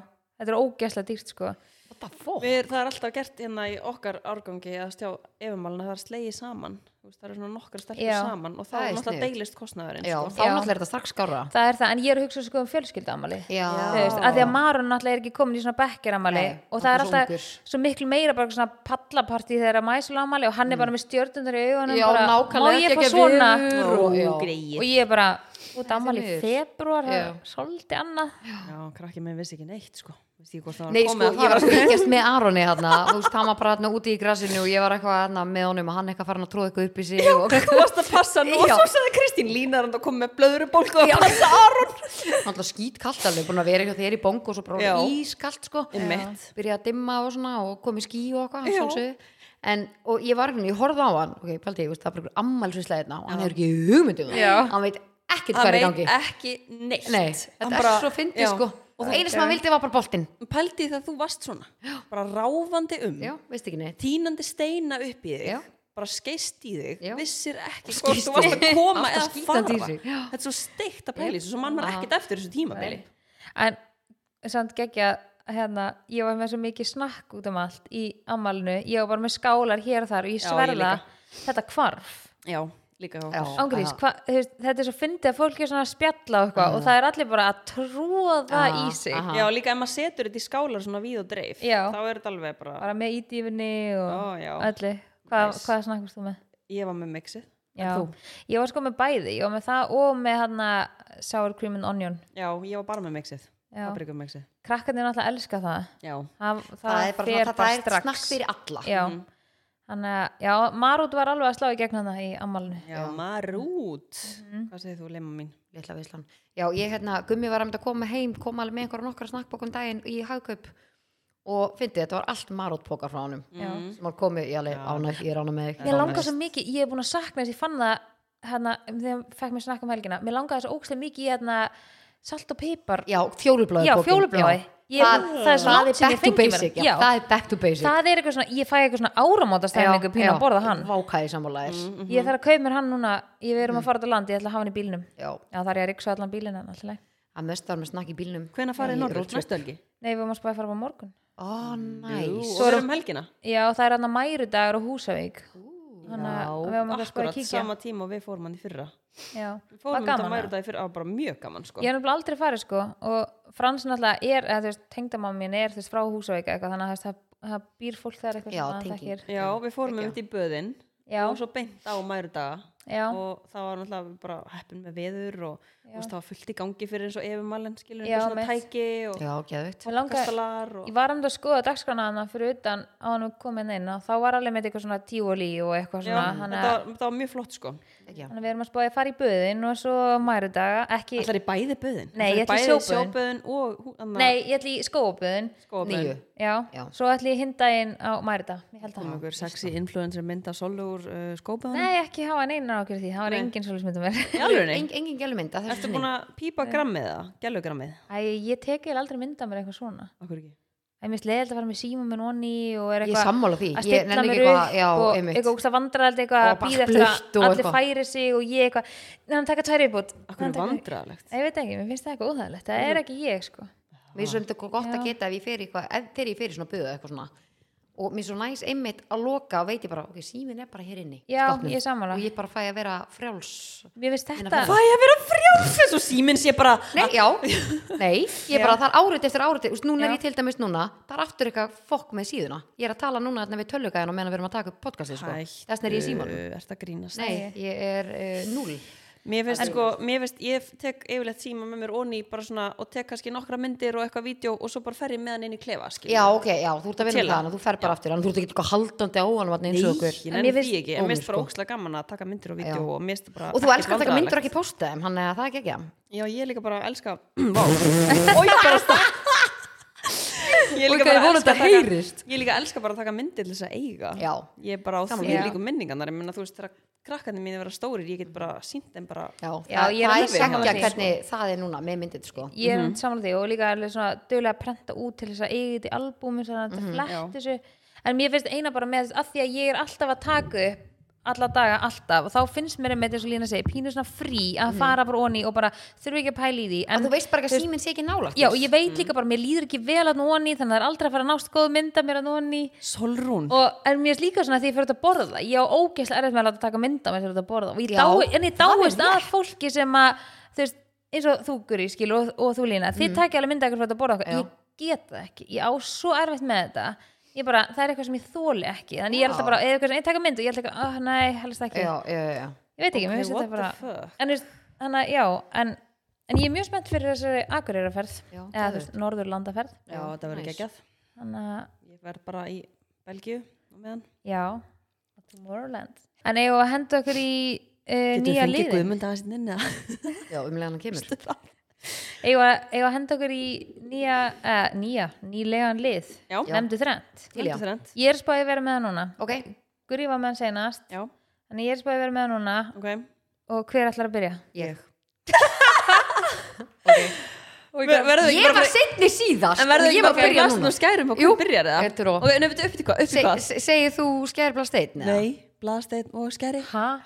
C: þetta er ógæsla dýrt sko
A: what the fuck
B: Við, það er alltaf gert hérna í okkar árgangi að stjá efumálina, það er slegið saman Þú veist, það eru svona nokkar stelpur
C: Já.
B: saman og þá
A: Það er
B: náttúrulega
A: sniðugt.
B: deilist kostnaðurinn
A: já,
B: sko.
A: þá
C: Já.
A: náttúrulega er þetta strax skára
C: það er það, en ég er að hugsa sko um fjölskyldaamali
A: já,
C: þú veist, að því að Maron náttúrulega er ekki komin í svona bekkiramali
A: Nei,
C: og það er
A: hann er svo
C: alltaf
A: ungur.
C: svo miklu meira bara svona pallapartí þegar að mæsulamali og hann er bara með stjörnundar í augunum
A: Mm. Já,
C: bara,
A: nákvæmlega,
C: má ég
A: ekki
C: fá
A: að
C: svona
A: veður
B: Ó,
A: og- Já.
B: greið
C: og ég er bara, út ammali í
A: miður.
C: februar það
A: Já.
C: er svolítið annað
B: Já, krakki minn vissi ekki neitt sko. Vissi ekki hvort það var
A: Nei, sko,
B: komið
A: ég
B: að
A: var
B: fara.
A: að fylgjast með Aroni hérna, þú veist, hann var bara hérna úti í grasinu og ég var eitthvað hérna með honum og hann eitthvað farin að tróða eitthvað upp í sig og
B: Þú varst að passa nú og
A: Já.
B: svo sagði Kristín Línarand og kom með blöðurubólk og
A: Já.
B: að passa Aron
A: náttúrulega skítkallt alveg, búin að vera hjá þér í bongo og svo bara
B: Já.
A: ískallt sko
B: Einmitt.
A: byrja að dimma og svona og komið skí og eitthvað
B: Já.
A: að sjálfsögðu. en, og ég var einhvern, ég horfði á hann ok, paldi, ég veist, það er bara einhver ammælsvisleðina og hann hefur ekki hugmyndum
C: Já.
A: hann veit ekkert hvað
B: Það
A: er í
B: veit
A: gangi
B: ekki neitt
A: Nei,
B: Hann
A: þetta er
B: bara-
A: svo fyndið
B: Já.
A: sko
B: Og
A: og einu sem hann vildi var bara boltinn
B: þú pældi í það að þú varst svona bara ráfandi um
A: já, veist ekki neitt
B: tínandi steina upp í þig
A: Já.
B: bara skeist í þig,
A: Já.
B: vissir ekki hvort
A: Skeist
B: þú varst
A: í
B: að
A: þig.
B: koma
A: Alltaf
B: eða
A: skítandi í
B: fara
A: sig. Já.
B: þetta er svo steikt að pæli þessu, svo mann maður
A: Já.
B: ekkert eftir þessu tímabili
C: en samt geggja hérna, ég var með svo mikið snakk út um allt í ammalinu, ég var bara með skálar hér og þar og
B: Já,
C: ég
B: ég
C: sverða
B: líka.
C: þetta hvarf
B: já, líka hjá
A: Já.
B: okkur
C: Ángurís,
A: Aha.
C: hva, þú veist, þetta er svo fyndið að fólk er svona að spjalla og eitthvað og það er allir bara að tróða
A: Aha,
C: í sig
A: aha.
B: já, líka ef maður setur þetta í skálar svona víð og dreif
C: Já.
B: þá er þetta alveg bara,
C: bara með ídýfinni og
B: Ó, já.
C: öllu Hva,
B: Nice.
C: hvað snakkast þú með?
B: ég var með mixið
C: Já. ég var sko með bæði, ég var með það og með hann sour cream and onion
B: já, ég var bara með mixið,
C: Já.
B: paprikum mixið
C: krakkarnir náttúrulega elska það
B: já,
C: það, það,
A: það er bara,
C: fer
A: svona- það er
C: strax.
A: snakk fyrir Mhm. alla
C: já. Þannig að, já, Marút var alveg að slá í gegn hana í ammalinu
B: já, marút
C: Mhm.
B: hvað segir þú, leima mín?
A: litla veislan já, ég hérna, Gummi var einmitt að koma heim kom alveg með einhverja nokkra snakkbókum daginn í hagkaup og fyndið, þetta var allt marótpókar frá honum Mm.
C: Já.
A: sem var komið, ég, alveg, ána, ég er ána með þig.
C: Mér langar svo mikið, ég hef búin að sakna þess, ég fann það hérna, um þegar ég fekk mér snakka um helgina mér langaði svo ókslega mikið í hérna salt og peipar,
A: já, fjólubláði
C: Já, fjólubláði. Ég-
A: það,
C: það er svo langt sem ég
A: back to
C: fengi mér
A: basic,
C: það.
A: já,
C: Já.
A: það er back to basic
C: það er eitthvað svona ég fæ eitthvað svona áramótastæmingu pínu að borða hann
A: vákaði sammálaðir mm.
C: ég þarf að kaupa mér hann núna, ég við
A: Mhm.
C: erum að fara út á land ég ætla að hafa hann í bílnum,
A: já,
C: já það er ég að riksa allan bílinn hérna, en alltaf leið,
A: að mest var með snakk í bílnum
B: hvena farið norður, næstu helgi?
C: nei við erum að spáði að fara á morgun
A: ó,
B: Jú,
A: næs
B: og við erum helgina
C: já það er hann að mærudagur á Húsavík þannig
B: Já,
C: að við erum að spáði
B: akkurat,
C: að kíkja
B: sama tíma og við fórum hann í fyrra
C: já,
B: við
C: það
B: fórum
C: var
B: hann að
C: gaman
B: mæru
C: að
B: dag í fyrra, það var bara mjög gaman sko.
C: Ég hef nefnilega aldrei farið sko og Frans náttúrulega er, eða þú veist, tengdamann mín er þú veist frá Húsavík eða eitthvað, þannig að þú veist, það, það býr fólk þar eitthvað
A: Já,
C: sem maður
A: tenging.
C: þekkir.
B: já, við fórum um þetta í böðin
C: Já.
B: og svo beint á mæru daga
C: já,
B: og það var náttúrulega bara heppin með veður og þú
C: já.
B: veist, það var fullt í gangi fyrir eins og efumalen skilur
C: Já,
B: eitthvað svona
C: mitt.
B: tæki og
A: já, geðvitt
C: Mig langaði-
B: kastalar og
C: Ég var hann að skoða dagskrána hann fyrir utan á hann komin inn og þá var alveg með eitthvað svona tíolí og eitthvað
B: já,
C: svona
B: þetta,
C: þannig að-
B: var, þetta var mjög flott sko
A: já,
C: þannig að við erum að spáði að fara í böðin og svo mærudaga, ekki
B: Það er í bæði böðin
C: Nei, ég ætla í sjóböðin.
B: sjóböðin og hú- annað
C: nei, ég ætli í skóaböðin
A: níu
B: skóaböðin
C: já,
A: Já.
C: svo ætli ég hindaginn á mærudag ég held
B: Komum
C: að
B: ykkur sexy influencer mynda solu úr uh, skóböðin
C: nei, ekki hafa neina ákjör því, það var
B: Nei.
C: engin svolítið mér
B: Í alvörunni?
A: Eng, engin gælumynd að þessu
B: Ertu búin að pípa grammið það? Gælugrammið?
C: Æ, ég teki eða aldrei mynda mér eitthvað svona
B: Akkur ekki?
C: Það er mist leiðilt að fara með síma minn onni og er
A: ég
C: eitthvað
A: sammála því,
C: að
A: ég
C: stilla
A: nenni
C: mér
A: ekki
C: upp
A: eitthvað já,
C: og
A: einmitt,
C: eitthvað úkst að vandraldi eitthvað að
A: Og bara
C: býða eftir
A: blautt
C: að
A: og
C: allir
A: eitthvað.
C: færi sig og ég eitthvað neðan taka tvær viðbútt
B: Akkur er vandræðalegt?
C: Ég veit ekki, mér finnst það eitthvað óþægilegt, það er ekki ég sko
A: mér finnst þetta eitthvað gott
C: Já.
A: að geta ef ég fer í eitthvað, ef þegar ég fer í svona buðu eitthvað svona og mér er svo næs einmitt að loka og veit ég bara, ok, síminn er bara hér inni í
C: Já,
A: skápnum.
C: ég er sammála.
A: og ég bara fæ að vera frjáls
C: Mér finnst
A: Minna
C: þetta,
A: félaga.
B: Fæ að vera frjáls eins og síminn sé bara
A: nei, já, nei, ég bara, það er árið eftir árið, úst, núna
C: Já.
A: er ég til dæmis núna það er aftur eitthvað fokk með síðuna ég er að tala núna þarna við tölvugæðina meðan við erum að taka upp podcastið sko. þessna er ég síman
B: Ertu að grínast?
A: Nei, ég er uh, núl
B: Mér finnst sko, mér finnst, ég tek yfirleitt síma með mér onni bara svona og tek kannski nokkra myndir og eitthvað vídeo og svo bara fer ég með hann inn í klefa, skil.
A: Já, ok, já, þú ert að vinna
B: Chilla.
A: með hann og þú fer bara aftur hann, þú ert ekki eitthvað haldandi á hann þarna eins og okkur
B: ég
C: En mér
B: nefnir
C: finnst-
B: því ekki, en
A: ómur,
B: mér finnst bara
A: sko.
B: ókslega gaman að taka myndir og vídeo
A: Já.
B: og mér finnst bara...
A: og þú
B: ekkert
A: elskar að taka myndur og
B: vandræðalegt.
A: ekki posta þeim, hann er það er ekki ekki
B: Já, ég er líka bara að elska... Vá, og ég bara stað... Ég er
A: Ok,
B: líka bara
A: ég vona
B: elska
A: þetta
B: að taka-
A: heyrist.
B: Ég er líka að elska bara að taka myndir til þess að eiga
A: Já.
B: Ég er bara á
A: Gaman.
B: því
C: Já.
B: líku minningarnar Ég meina þú veist þegar krakkandi mín vera stórir Ég get bara sínt þeim bara
A: Já,
C: Já,
A: það,
C: ég er
A: það
C: alveg
A: er
C: sammála
A: segja
C: því,
A: hvernig
B: sko.
A: það er núna með myndið sko
C: ég er mm saman því og líka alveg svona dögulega að prenta út til þess að eiga þetta í albúmi þannig að þetta
A: Mhm,
C: flett þessu en mér finnst eina bara með þess að því að ég er alltaf að taka upp alla daga, alltaf og þá finnst mér með þess að lína segi pínu svona frí að fara bara onni og bara þurfi ekki að pæla í því en
A: En þú veist bara ekki Mhm. að Mhm. síminn sé ekki nálægt
C: Já, og ég veit líka bara, mér líður ekki vel að nóni þannig að það er aldrei að fara að nást góð mynda mér að nóni
B: Solrún
C: og en mér er líka svona því ég fyrir þetta að borða ég á ógeðslega erfitt með að láta taka mynda mér fyrir þetta að borða og ég
A: Já,
C: dái, en ég
A: það er
C: dáist að fólki sem að þú veist, eins og þú guri skil og, og þú lína, þið takja alveg mynda ykkur fyrir þetta að borða okkur,
A: Mm. Já.
C: ég get það ekki ég á svo erfitt með þetta ég bara, það er eitthvað sem ég þóli ekki þannig ég er alltaf bara, eða eitthvað sem ég taka myndu ég er alltaf eitthvað, oh, nei, helst ekki
A: já, já, já, já.
C: ég veit ekki, mér
B: Ok,
C: finnst
B: what
C: þetta bara
B: the fuck?
C: en, þú veist, þannig að já, en, en ég er mjög spennt fyrir þessari akureyraferð
A: Já,
C: eða þú veist, norðurlandaferð
B: Já, þetta verður
A: nice.
B: geggjað
C: þannig að
B: Ég verð bara í Belgíu á meðan
C: Já, Tomorrowland En eigum við að henda okkur í uh, nýja liðin
B: guðmund aðeins inn eða?
A: já umlega hann kemur
C: eigum við að- eigum við að henda okkur í nýja, uh, nýja, nýlegan lið
B: Já.
C: Nefndu þrennt
A: Til í
B: Þetta
A: hann.
B: er rent.
C: Ég er spáðið að vera með það núna
A: Ok,
C: Guri var með hann seinast
B: Já,
C: Þannig ég er spáðið að vera með það núna
B: ok
C: Og hver ætlar að byrja?
A: ég
B: Ver- verður ekki
A: Ég
B: bara-
A: var setni síðast
B: En verður
A: og
B: ekki
A: ég var
B: bara
A: að byrja
B: glasn
A: núna
B: og skærum og
A: Jú,
B: hvernig byrjar það?
A: þetta er og-
B: Ok, en upp til hvað? Upp til
A: Se-
B: hvað?
A: se- Segir þú skærblá steinn? eða?
B: Nei, blaðsteinn og skæri
C: Ha?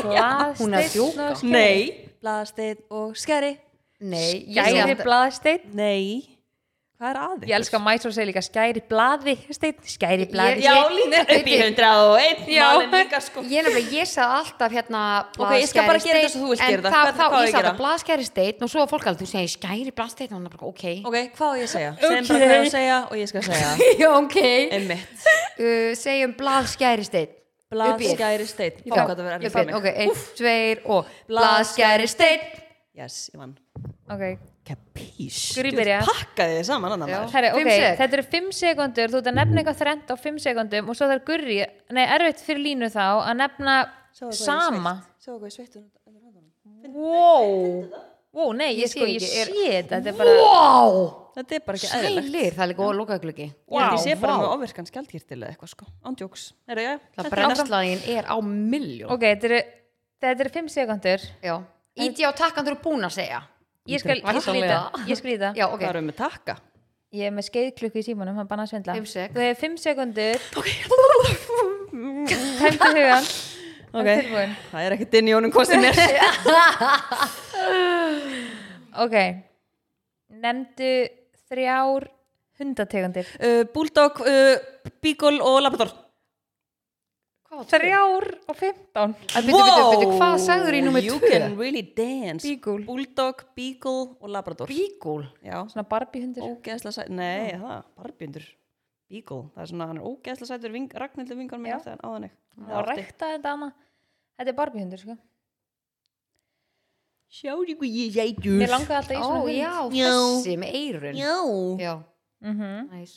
A: Hún er að djóka.
C: Blaðsteinn
B: Nei, blaðsteinn og skæri
A: Nei, ég segi
C: Skæri
A: alltaf-
C: blaðsteinn
B: Nei, hvað er aðeins?
C: Ég elska að Mæsór segir líka skæri blaði steinn Skæri blaði
A: Ég-
B: Já, lína upp í
A: Bíddu.
B: 101
C: Já.
B: málin líka sko
A: Ég, nefnilega, ég sagði alltaf hérna
B: Ok, ég skal
A: blaðskæri
B: bara gera þetta
A: steinn,
B: eins og þú vilt
A: en
B: gera
A: þá,
B: þetta. Hvað-
A: þá
B: hvað á
A: ég
B: ég að
A: sagði
B: gera?
A: blaðskæri steinn og svo var fólk alveg, þú segir skæri blaðsteinn og hann er bara, ok,
B: Ok, hvað á ég að segja? Segðum bara
C: Ok.
B: hvað ég á að segja og ég skal segja
A: Já, ok
B: Einmitt
A: uh, Segjum blaðskæri steinn
B: Blað, skæri, steinn Fá hvað það verður erfið fyrir mig
A: Ok, einn, tveir og
B: Blaðskæri
A: blaðskæri steinn
B: Yes, ég vann
C: Ok,
B: Kapís
C: Guri byrja.
B: Pakkaði þið saman annar maður
C: Herri,
A: Fimm
C: ok,
A: sek.
C: þetta eru 5 sekundur, þú ert að nefna eitthvað þrennt á 5 sekundum og svo þarf Gurri, nei, erfitt fyrir línu þá að nefna sama.
B: Svo hvað ég sveitt
C: Wow, wow, nei, ég,
A: Ég
C: sko,
A: sé
C: ég
A: ekki,
C: sé
A: er-
C: þetta, þetta er bara,
A: Vá
B: Þetta er bara ekki eðlilegt
A: Sælir, það er líka lokaglöggi
B: Ég held ég sé bara
A: vá.
B: með ofverkan skjaldkirtil eða eitthvað sko Ándjóks Herra, já
A: Það brennslaðin er á milljón
C: ok, þetta eru, þetta eru 5 sekundur,
A: Já Íti á takkan þú eru búin að segja
C: ég skal,
A: Þetta er
C: ég skal líta,
A: rosalega.
C: ég skal líta,
A: Já, ok
B: Það erum við takka
C: ég er með skeiðklukku í símanum, hann banna að svindla.
A: Fimm sek.
C: Þú hefur 5 sekundur, tæmdu hugan, það er tilbúin.
B: Það er ekkert inn í honum hvað sem er
C: Ok, nefndu þrjár hundategundir.
B: Uh, Bulldog, uh, Beagle og Labrador
C: Þrjár og 15.
A: Að Bíddu, bíddu, bíddu, hvað sagður í númer
B: You
A: 2?
B: can really dance
C: Beagle.
B: Bulldog, Beagle og Labrador
A: Bígúl
B: Já,
C: Svona Barbie hundur.
B: ógeðslega sætur Nei, það, barbjöndur Beagle, það er svona, hann er ógeðslega sætur ving, Ragnhildur vingar
C: Já.
B: mér eftir hann áðan ekki
C: og rækta þetta annað Þetta er barbihundur, sko.
B: Sjáðu hvað ég sætur.
C: Mér langaði alltaf í svona
A: Ó,
C: hund.
A: já,
B: hérna. Já.
A: þessi með eirun
B: Já.
A: Já,
C: Mhm.
A: næs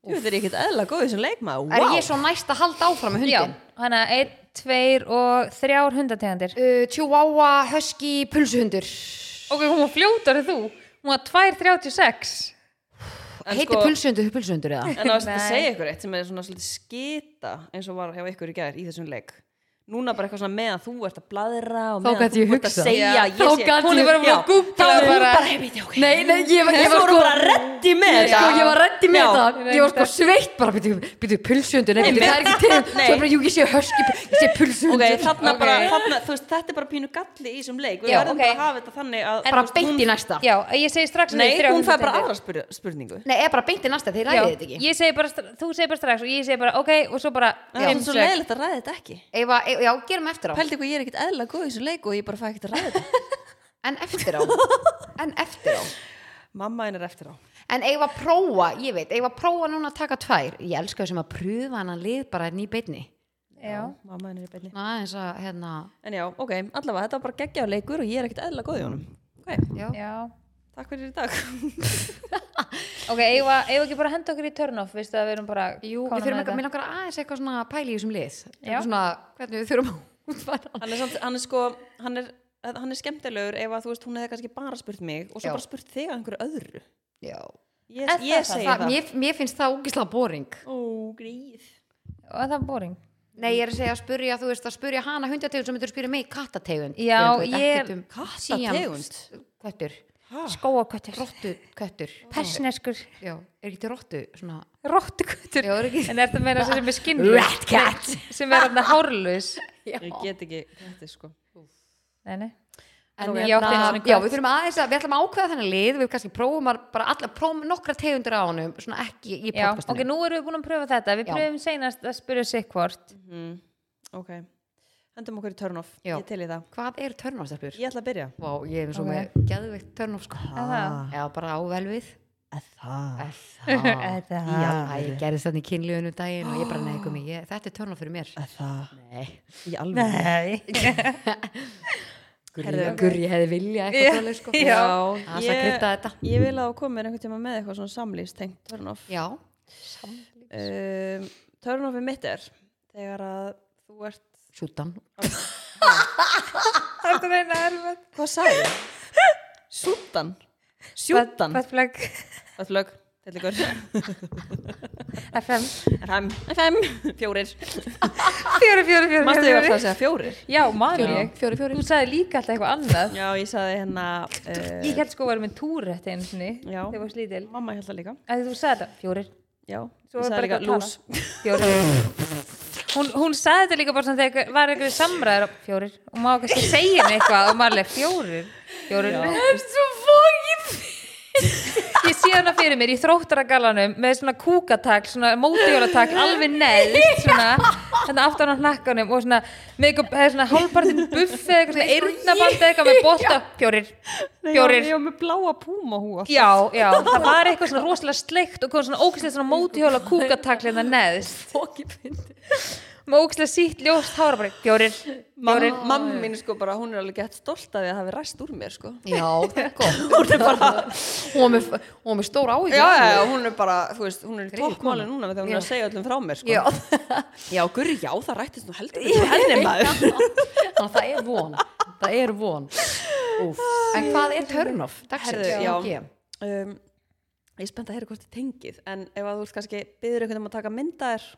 B: Þú veit, er ekkert eðla góðið sem leikmaður.
A: Er
B: Vá.
A: ég svo næst að halda áfram með
C: Já,
A: hundin?
C: hann er einn, tveir og þrjár hundategundir.
A: Uh, Chihuahua, husky, pulsuhundur
C: Ok, hún var fljótari þú. Hún var 2.36.
B: En
A: Heitir
B: sko-
A: pulsuhundur, pulsuhundur eða?
B: En það var að
C: Nei.
B: segja ykkur eitt sem er svona svolítið skita eins og var hjá ykkur í gær í þessum leik. Núna bara eitthvað svona meðan þú ert að bladra og
A: Þá
B: meðan
A: gat ég
B: þú ert að
A: hugsað.
B: segja
C: Já,
B: ég
A: þá
B: sé-
A: gat
B: Hún er
A: ég-
B: bara búin að
A: já,
B: googla
A: þá er
B: og
A: bara-
B: bara, "Hey, bíddu, ok."
A: Nei, nei, ég, var-
B: Nei,
A: ég
B: þú
A: var
B: voru
A: sko
B: bara reddi með
A: Sko,
B: þetta.
A: ég var reddi
B: Já.
A: með það, ég var sko
C: Reyndar.
A: sveitt bara, byrju, byrju, pulsuhundur, nei,
B: Nei,
A: byrju, það er
B: mér-
A: ekki til,
B: Nei.
A: svo bara, jú, ég sé husky, ég sé
B: Ok,
A: pulsuhundur
B: þarna
C: Ok.
B: bara, þarna, þú veist, þetta er bara pínu galli í þessum leik. Við
C: Já,
B: verðum
C: ok.
B: bara að hafa þetta þannig að...
A: Bara
B: þú veist,
A: beint í
B: hún-
A: næsta
C: Já, ég segi strax að
B: Nei,
C: þetta er
B: hún fær
C: 300
B: bara
C: tegundir.
B: aðra spyr- spurningu.
A: Nei, er bara beint í næsta, þeir
C: Já,
A: ræðið þetta ekki
C: ég segi bara, stra- þú segir bara strax og ég segi bara, ok, og svo bara
B: Það er
C: fimm
B: svo
C: slök.
B: leðilegt að ræða þetta ekki.
A: Ef að, e, já, gerum eftir á
B: Pældi hvað ég er ekkert eðla góð í þessu leik og ég bara fæ ekkert að ræða þetta.
A: En eftir á En eftir á
B: Mamma henn er eftir á.
A: En eigum við að prófa, ég veit, eigum við að prófa núna að taka tvær Ég elska þessum að pröfa hann að lið bara hérna í beinni
C: Já.
B: Mamma henn er í beinni.
A: Ná, eins og hérna
B: En já, ok, allavega, þetta var bara geggjaður leikur og ég er ekkert eðla góð í honum. Ok,
A: Já,
C: Já.
B: takk fyrir í dag.
C: Ok, eigum við- eigum við ekki bara að henda okkur í turn-off, veistu að við erum bara
A: Jú,
C: komin
A: við þurfum
C: með
A: eitthvað,
C: þetta.
A: mér langar aðeins eitthvað svona pæli í þessum lið
C: Já.
A: Eitthvað Svona, hvernig við þurfum að útfæra hann.
B: hann, er samt, hann er sko, hann er, hann er skemmtilegur ef að þú veist, hún hefði kannski bara spurt mig og svo
A: Já.
B: bara spurt þig að einhverju öðru.
A: Já,
B: Ég,
C: Er það
B: ég
C: það?
B: segi
A: það,
B: það.
A: mér, mér finnst það ógislega boring
B: Ó, gríð.
C: Og það er boring.
A: Nei, ég er að segja að spurja, þú veist, að spurja hana hundategund sem myndir að spurja mig kattategund
C: Já,
A: Þú veit
C: ég-
A: ekkert um
B: Kattategund?
A: síam- Köttur,
C: Skóakvötur.
A: rottu köttur
C: Persneskur.
A: Já, er ekki til rottu svona
C: Rottukvötur.
A: Já, er ekki
C: En er þetta meira sem er skinnlös?
A: Rat cat
C: Sem er hann hárlös?
B: Ég get ekki þetta er sko.
C: Nei, nei.
A: En
C: Ok,
A: hérna,
C: ég átti einu sinni
A: já,
C: kött.
A: við þurfum aðeins að, við ætlum að ákveða þennan lið, við kannski prófum að bara alla, prófum nokkra tegundur á honum, svona ekki í
C: Já,
A: podcastinu.
C: ok, nú erum við búin að pröfa þetta. Við
A: Já.
C: pröfum seinast að spyrja sig hvort.
B: Mm. Ok, hendum okkur í turn off.
A: Já.
B: Ég til í það.
A: Hvað er törnofstarpur?
B: Ég ætla að byrja.
A: Vá, ég er svo
C: Ok.
A: með geðveikt törnof, sko.
C: Er það?
A: Já, bara á velvið.
B: Það.
A: Er Það.
C: það?
A: Já, ég gerði þannig kynlíðunum um daginn og ég bara neikum mig, ég, þetta er törnof fyrir mér.
B: Það.
A: Nei.
B: Í alveg.
C: Nei.
A: Gurri,
B: Herðu.
A: gurri hefði vilja
C: Já,
A: eitthvað svoleið, sko. Það er að
B: ég,
A: krydda þetta.
B: ég vil að þú komir einhvern tíma með eitthvað svona samlýstengt turn off.
A: Já.
B: um, törnofið mitt er þegar að þú ert
A: Sútan.
C: Það er þetta reyna erfitt.
B: hvað sagði ég? Sútan Sjútan
C: Bad flag.
B: Bætlög, tillikur
C: FM.
B: FM, FM, fjórir
C: Fjóri, fjóri, fjóri.
B: Mastu ég var það að segja fjórir?
C: Já, man
A: Já.
C: ég.
A: Fjóri, fjóri.
C: Þú sagði líka alltaf eitthvað annað.
B: Já, ég sagði hérna uh,
C: Ég held sko að vera með túrætt einu sinni.
B: Já.
C: Þegar var slítil.
B: Mamma held það líka
C: Þegar þú sagði þetta, fjórir.
B: Já,
C: Svo
B: ég
C: var bara
B: sagði líka
C: eitthvað að
B: lús
C: tala. Fjórir. Hún, hún sagði þetta líka bara svona þegar einhver- var einhverju samræður á fjórir og maður kannski segja henni eitthvað og maður alveg fjórir. Fjórir.
B: Já.
C: Það er svo fókin Ég sé hana fyrir mér í þróttaragallanum með svona kúkatak, svona mótijólatak alveg neðst svona þannig aftan á hnakkanum og svona með eitthvað það er svona hálfpartinn buffi eða eitthvað svona eyrnabandi eitthvað með bolta fjórir,
B: Nei,
C: fjórir
B: Ég var með bláa púma hú
C: Já, já, það var eitthvað svona rosalega sleikt og kom svona ógæslega svona mótihjóla kúkatakli hérna neðst
A: Fókið
C: með ógæslega sítt ljóst hára bara fjórir, fjórir
B: Mamma mín sko bara, hún er alveg gett stolt af því að það hafi ræst úr mér sko
A: Já, það er góð.
B: Hún er bara
A: Hún var með- hún var með stór áhyggjur.
B: já,
A: af
B: já,
A: því.
B: já, hún er bara, þú veist, hún er í
A: Greyið
B: toppmáli
A: kona.
B: núna þegar hún
A: Já.
B: er að segja öllum frá mér, sko.
A: Já.
B: já, gurri, já, það rættist nú heldur betur hjá henni maður.
A: Þannig að það er von Það er von Úf. En hvað er turn-off?
B: Herðu,
A: Dagsins,
B: já.
A: já.
B: Um, ég er spennt að heyra hvort þið tengið, en ef að þú vilt kannski byður einhvern um að taka myndaðir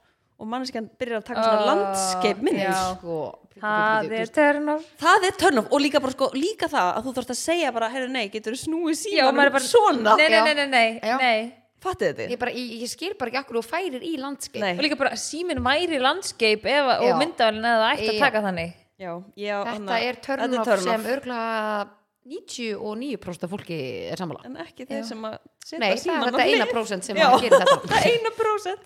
B: og manneskjan byrjar að taka svona
C: Ah,
B: uh, landskeip mynd.
C: já.
A: Sko,
C: Það er törn og
B: Það er törnum og líka bara sko, líka það að þú þarfst að segja bara, herru, nei, getur þú snúið
C: Já,
B: síðan
C: maður er bara
B: svona.
C: Nei, nei, nei, nei,
A: Já.
C: nei, nei.
B: Fattið þið?
A: ég, bara, ég, ég skil bara ekki akkur og færir í landskeið
B: Nei.
C: Og líka bara síminn væri landskeip efa,
A: Já.
C: og myndavælinn eða það ætti að
A: Já.
C: taka þannig
B: Já, já,
A: Þetta er turn-off sem örgla 99% af fólki er sammála
B: En ekki þeir sem að setja
A: Nei, það er
B: símann á
A: þetta eina
B: hlið.
A: prósent sem
B: Já.
A: að gera þetta
B: Það eina prósent.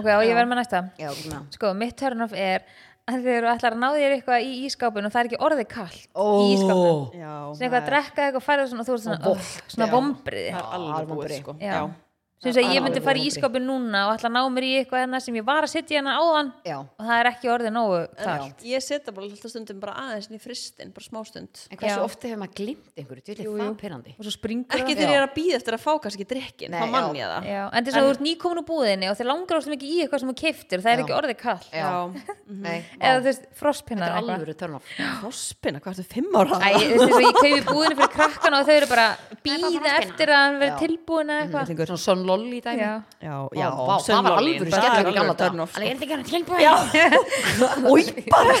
C: Ok, og ég verð með næsta
A: Já, svona.
C: Sko, mitt törn of er að þegar þú ætlar að ná þér eitthvað í ískápin og það er ekki orðið kallt í ískápin
B: Já,
C: Svona eitthvað að drekka eitthvað færða svona, þú ert svona,
A: Og
C: oh,
A: vont,
C: svona
A: já.
C: vombriði
B: það er
A: Já,
B: alveg
A: alveg
B: búið
A: búið.
B: sko
C: Já. sem
B: Það er
C: segir ég
B: alveg
C: myndi fara í
B: vonbrigði.
C: ískapin núna og ætla að ná mér í eitthvað hérna sem ég var að setja hérna áðan
A: já,
C: og það er ekki orðið nógu
B: En
C: klárt
B: ég setja bara alltaf stundum bara aðeins inn í fristin, bara smástund
A: en hversu
C: Já.
A: oft hefur maður glimt einhverju, djöfull
C: Jú,
A: er það
C: jú.
A: pyrrandi
C: og svo springur
B: ekki
C: það.
B: þegar ég er að býða eftir að fá kannski drikkin
A: Nei,
B: þá mann
A: já.
B: ég það
C: Já, en þess að þú ert nýkomin úr búðinni og þeir langar ástum ekki í eitthvað sem þú keiftir það er
A: Já.
C: ekki orðið kall
A: Nei,
C: Mhm. eða
A: vá,
C: þú veist, frostpinnar
A: þetta er
C: eða eitthvað.
A: alvöru törnof
B: Hrospina, hvað ertu fimm ára?
C: Æ, þú veist, eins og ég kaupi búðinni fyrir krakkana og þau eru bara býða
A: frostpinna.
C: eftir að hann
A: Já.
C: veri tilbúin eða eitthvað
A: svona son lolli dæmi
C: Já.
B: Já,
A: Já,
B: já,
A: vá, það var alvöru skellur í gamla sko. dag
B: sko.
A: Þannig er þetta ekki hann tilbúin Já,
B: Új, bara,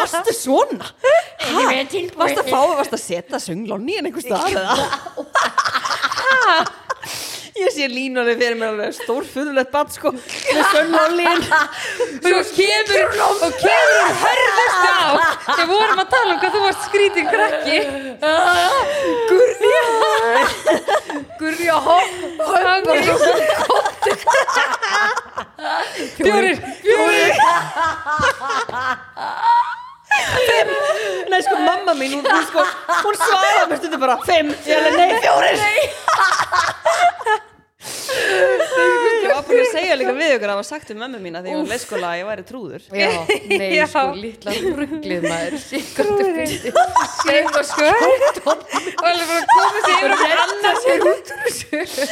B: varstu svona?
A: ég er tilbúin
B: Varstu að fá, varstu að setja sunglónni en einhver stað eða? Ég sé línunni fyrir mér alveg stórfurðulegt bann sko með sunglónlín
C: Svo kemur og kemur og hörðast á Við vorum að tala um hvað þú varst skrítið krakki Gurja Gurja hopp Hang og svo komdu Fjórir Fjórir
B: Nei sko mamma mín, hún, hún sko hún svaraði mér stundum bara Fimm, ég alveg nei, fjórir Nei Ég var búin að segja líka við ykkur að það var sagt við mömmu mína þegar ég var leyskóla sko að ég væri trúður
A: Já, nei,
C: Já.
A: sko, litla rugglið maður Sikkandu fyndið
C: Seif og skör Og alveg bara komið sér yfir og annað sér út úr þessu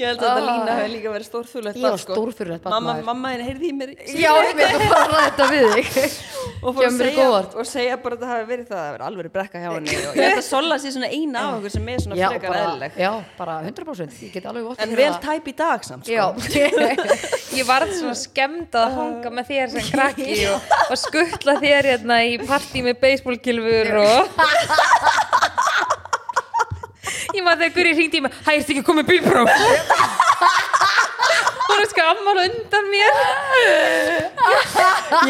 B: Ég held að þetta lína hefur líka verið Ah. stórfurðulegt sko.
A: Ég var stórfurðulegt barn,
B: Mamma,
A: maður.
B: mamma henni heyrði í mér í-
A: Já, ég veit að fara að ræða þetta við þig
B: og fór að
A: Kemur í
B: segja,
A: góðvart.
B: og segja bara að það hafi verið það að það verið alveg brekka hjá henni og ég held að Sola sé svona eina af okkur sem er svona
A: Já,
B: frekar
A: bara,
B: eðlileg
A: já, bara 100% Ég get alveg vott
B: en vel tæp í dag samt sko.
A: Já,
C: Ég varð svona skemmd að hanga með þér sem krakki og, og skuttla þér hérna í partí með beisbólkilfur og Ég maður þegar Guri hringdi í mig Hæ, ertu ekki komið bílpróf? Hún er skammal undan mér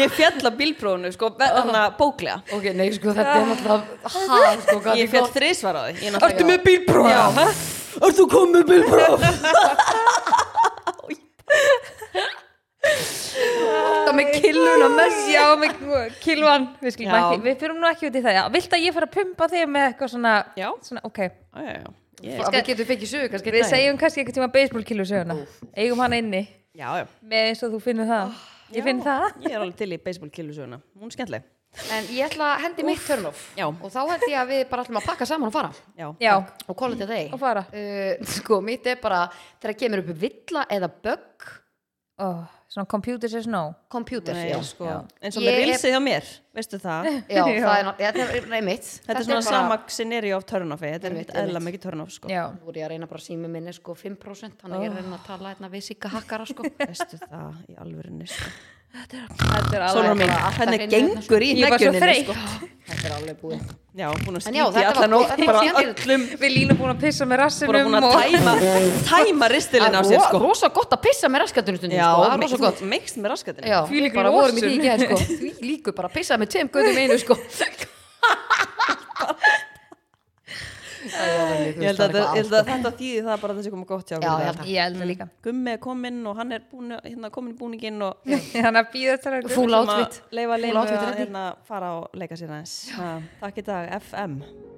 B: ég fjall að bílprófunu sko, þannig að bóklega
A: ok, nei, sko, þetta er náttúrulega Há, sko, hvað
B: ég fjall þrisvar á því ég
A: Ertu með
B: bílpróf? Ertu þú komið bílpróf?
A: þetta með killuna með sér
C: Já, með kilvan Við, skulum
B: Já.
C: ekki, við fyrir nú ekki út í það já. Vilt að ég fara að pumpa þig með eitthvað svona,
B: Já.
C: svona Ok,
B: já, já, já,
A: Að Við getum fengið sögur kannski
C: við
A: einn daginn.
C: segjum kannski einhvern tíma beisbólkilu söguna Eigum hana inni
B: já, já.
C: með eins og þú finnur það Ég finn það
B: ég er alveg til í baseball killusöguna hún er skemmtileg
A: En ég ætla að hendi mitt turn-off
B: Já.
A: Og þá held ég að við bara ætlum að pakka saman og fara
B: já.
C: Já,
A: Og call it a day
C: Og fara.
A: uh, Sko, mitt er bara Þegar kemur upp villa eða bögg
C: Ó, svona computer says no
A: Computer
B: Nei,
A: já.
B: sko,
C: Já.
B: eins og
A: Ég
B: með
A: er-
B: vilsið hjá mér veistu það
A: Já,
C: Já.
A: það er, ná- ja, þetta er, nei, mitt
B: þetta er svona sama scenario af turn-offi þetta er
A: Einmitt,
B: ekkert eðla mikið turn-off sko.
C: Já,
A: Nú er ég að reyna bara að sími minni sko 5% Þannig að ég er að reyna að tala hérna við sigga hakkara sko
B: veistu það í alvörinu sko.
C: þetta er
B: Sólur
C: alveg
B: mín,
A: bara alltaf
B: henni
A: hreinir
B: gengur í
C: Ég var svo
B: neggjuninni
C: þreytt
B: sko.
A: Þetta er alveg búið
B: Já, búin að
A: En já,
B: skýta í
A: þetta var-
B: alla nótt
A: þetta var
B: bara
A: skemmtilegt.
B: öllum
C: Við línum búin að pissa með
B: bara búin
C: rassinum
B: að tæma tæma ristilin á
A: Það
B: sér
A: er
B: sko
A: Ah, rosa gott að pissa með raskatunni stundum
B: Já,
A: sko, það er
B: mikst-
A: rosa gott
B: þú mikst með raskatinn
A: Já,
C: Þvílík
A: bara vorum í því
C: losun.
A: í gær sko Því líku bara pissaði með tveim gautum í einu sko
B: Ég held að, ég held að þetta þýði það bara að það sé koma gott hjá
A: Já, ég held
B: okkur
A: að-
C: Ég held það líka
B: Gummi er kominn og hann er búin, hérna, komin í búninginn og
C: Þannig að býða þetta að
A: Fúl
B: Sem að
A: átvitt
B: Leifa leinu
A: outfit
B: að
A: ready.
B: hérna, fara og leika sér aðeins Ha, Takk í dag, FM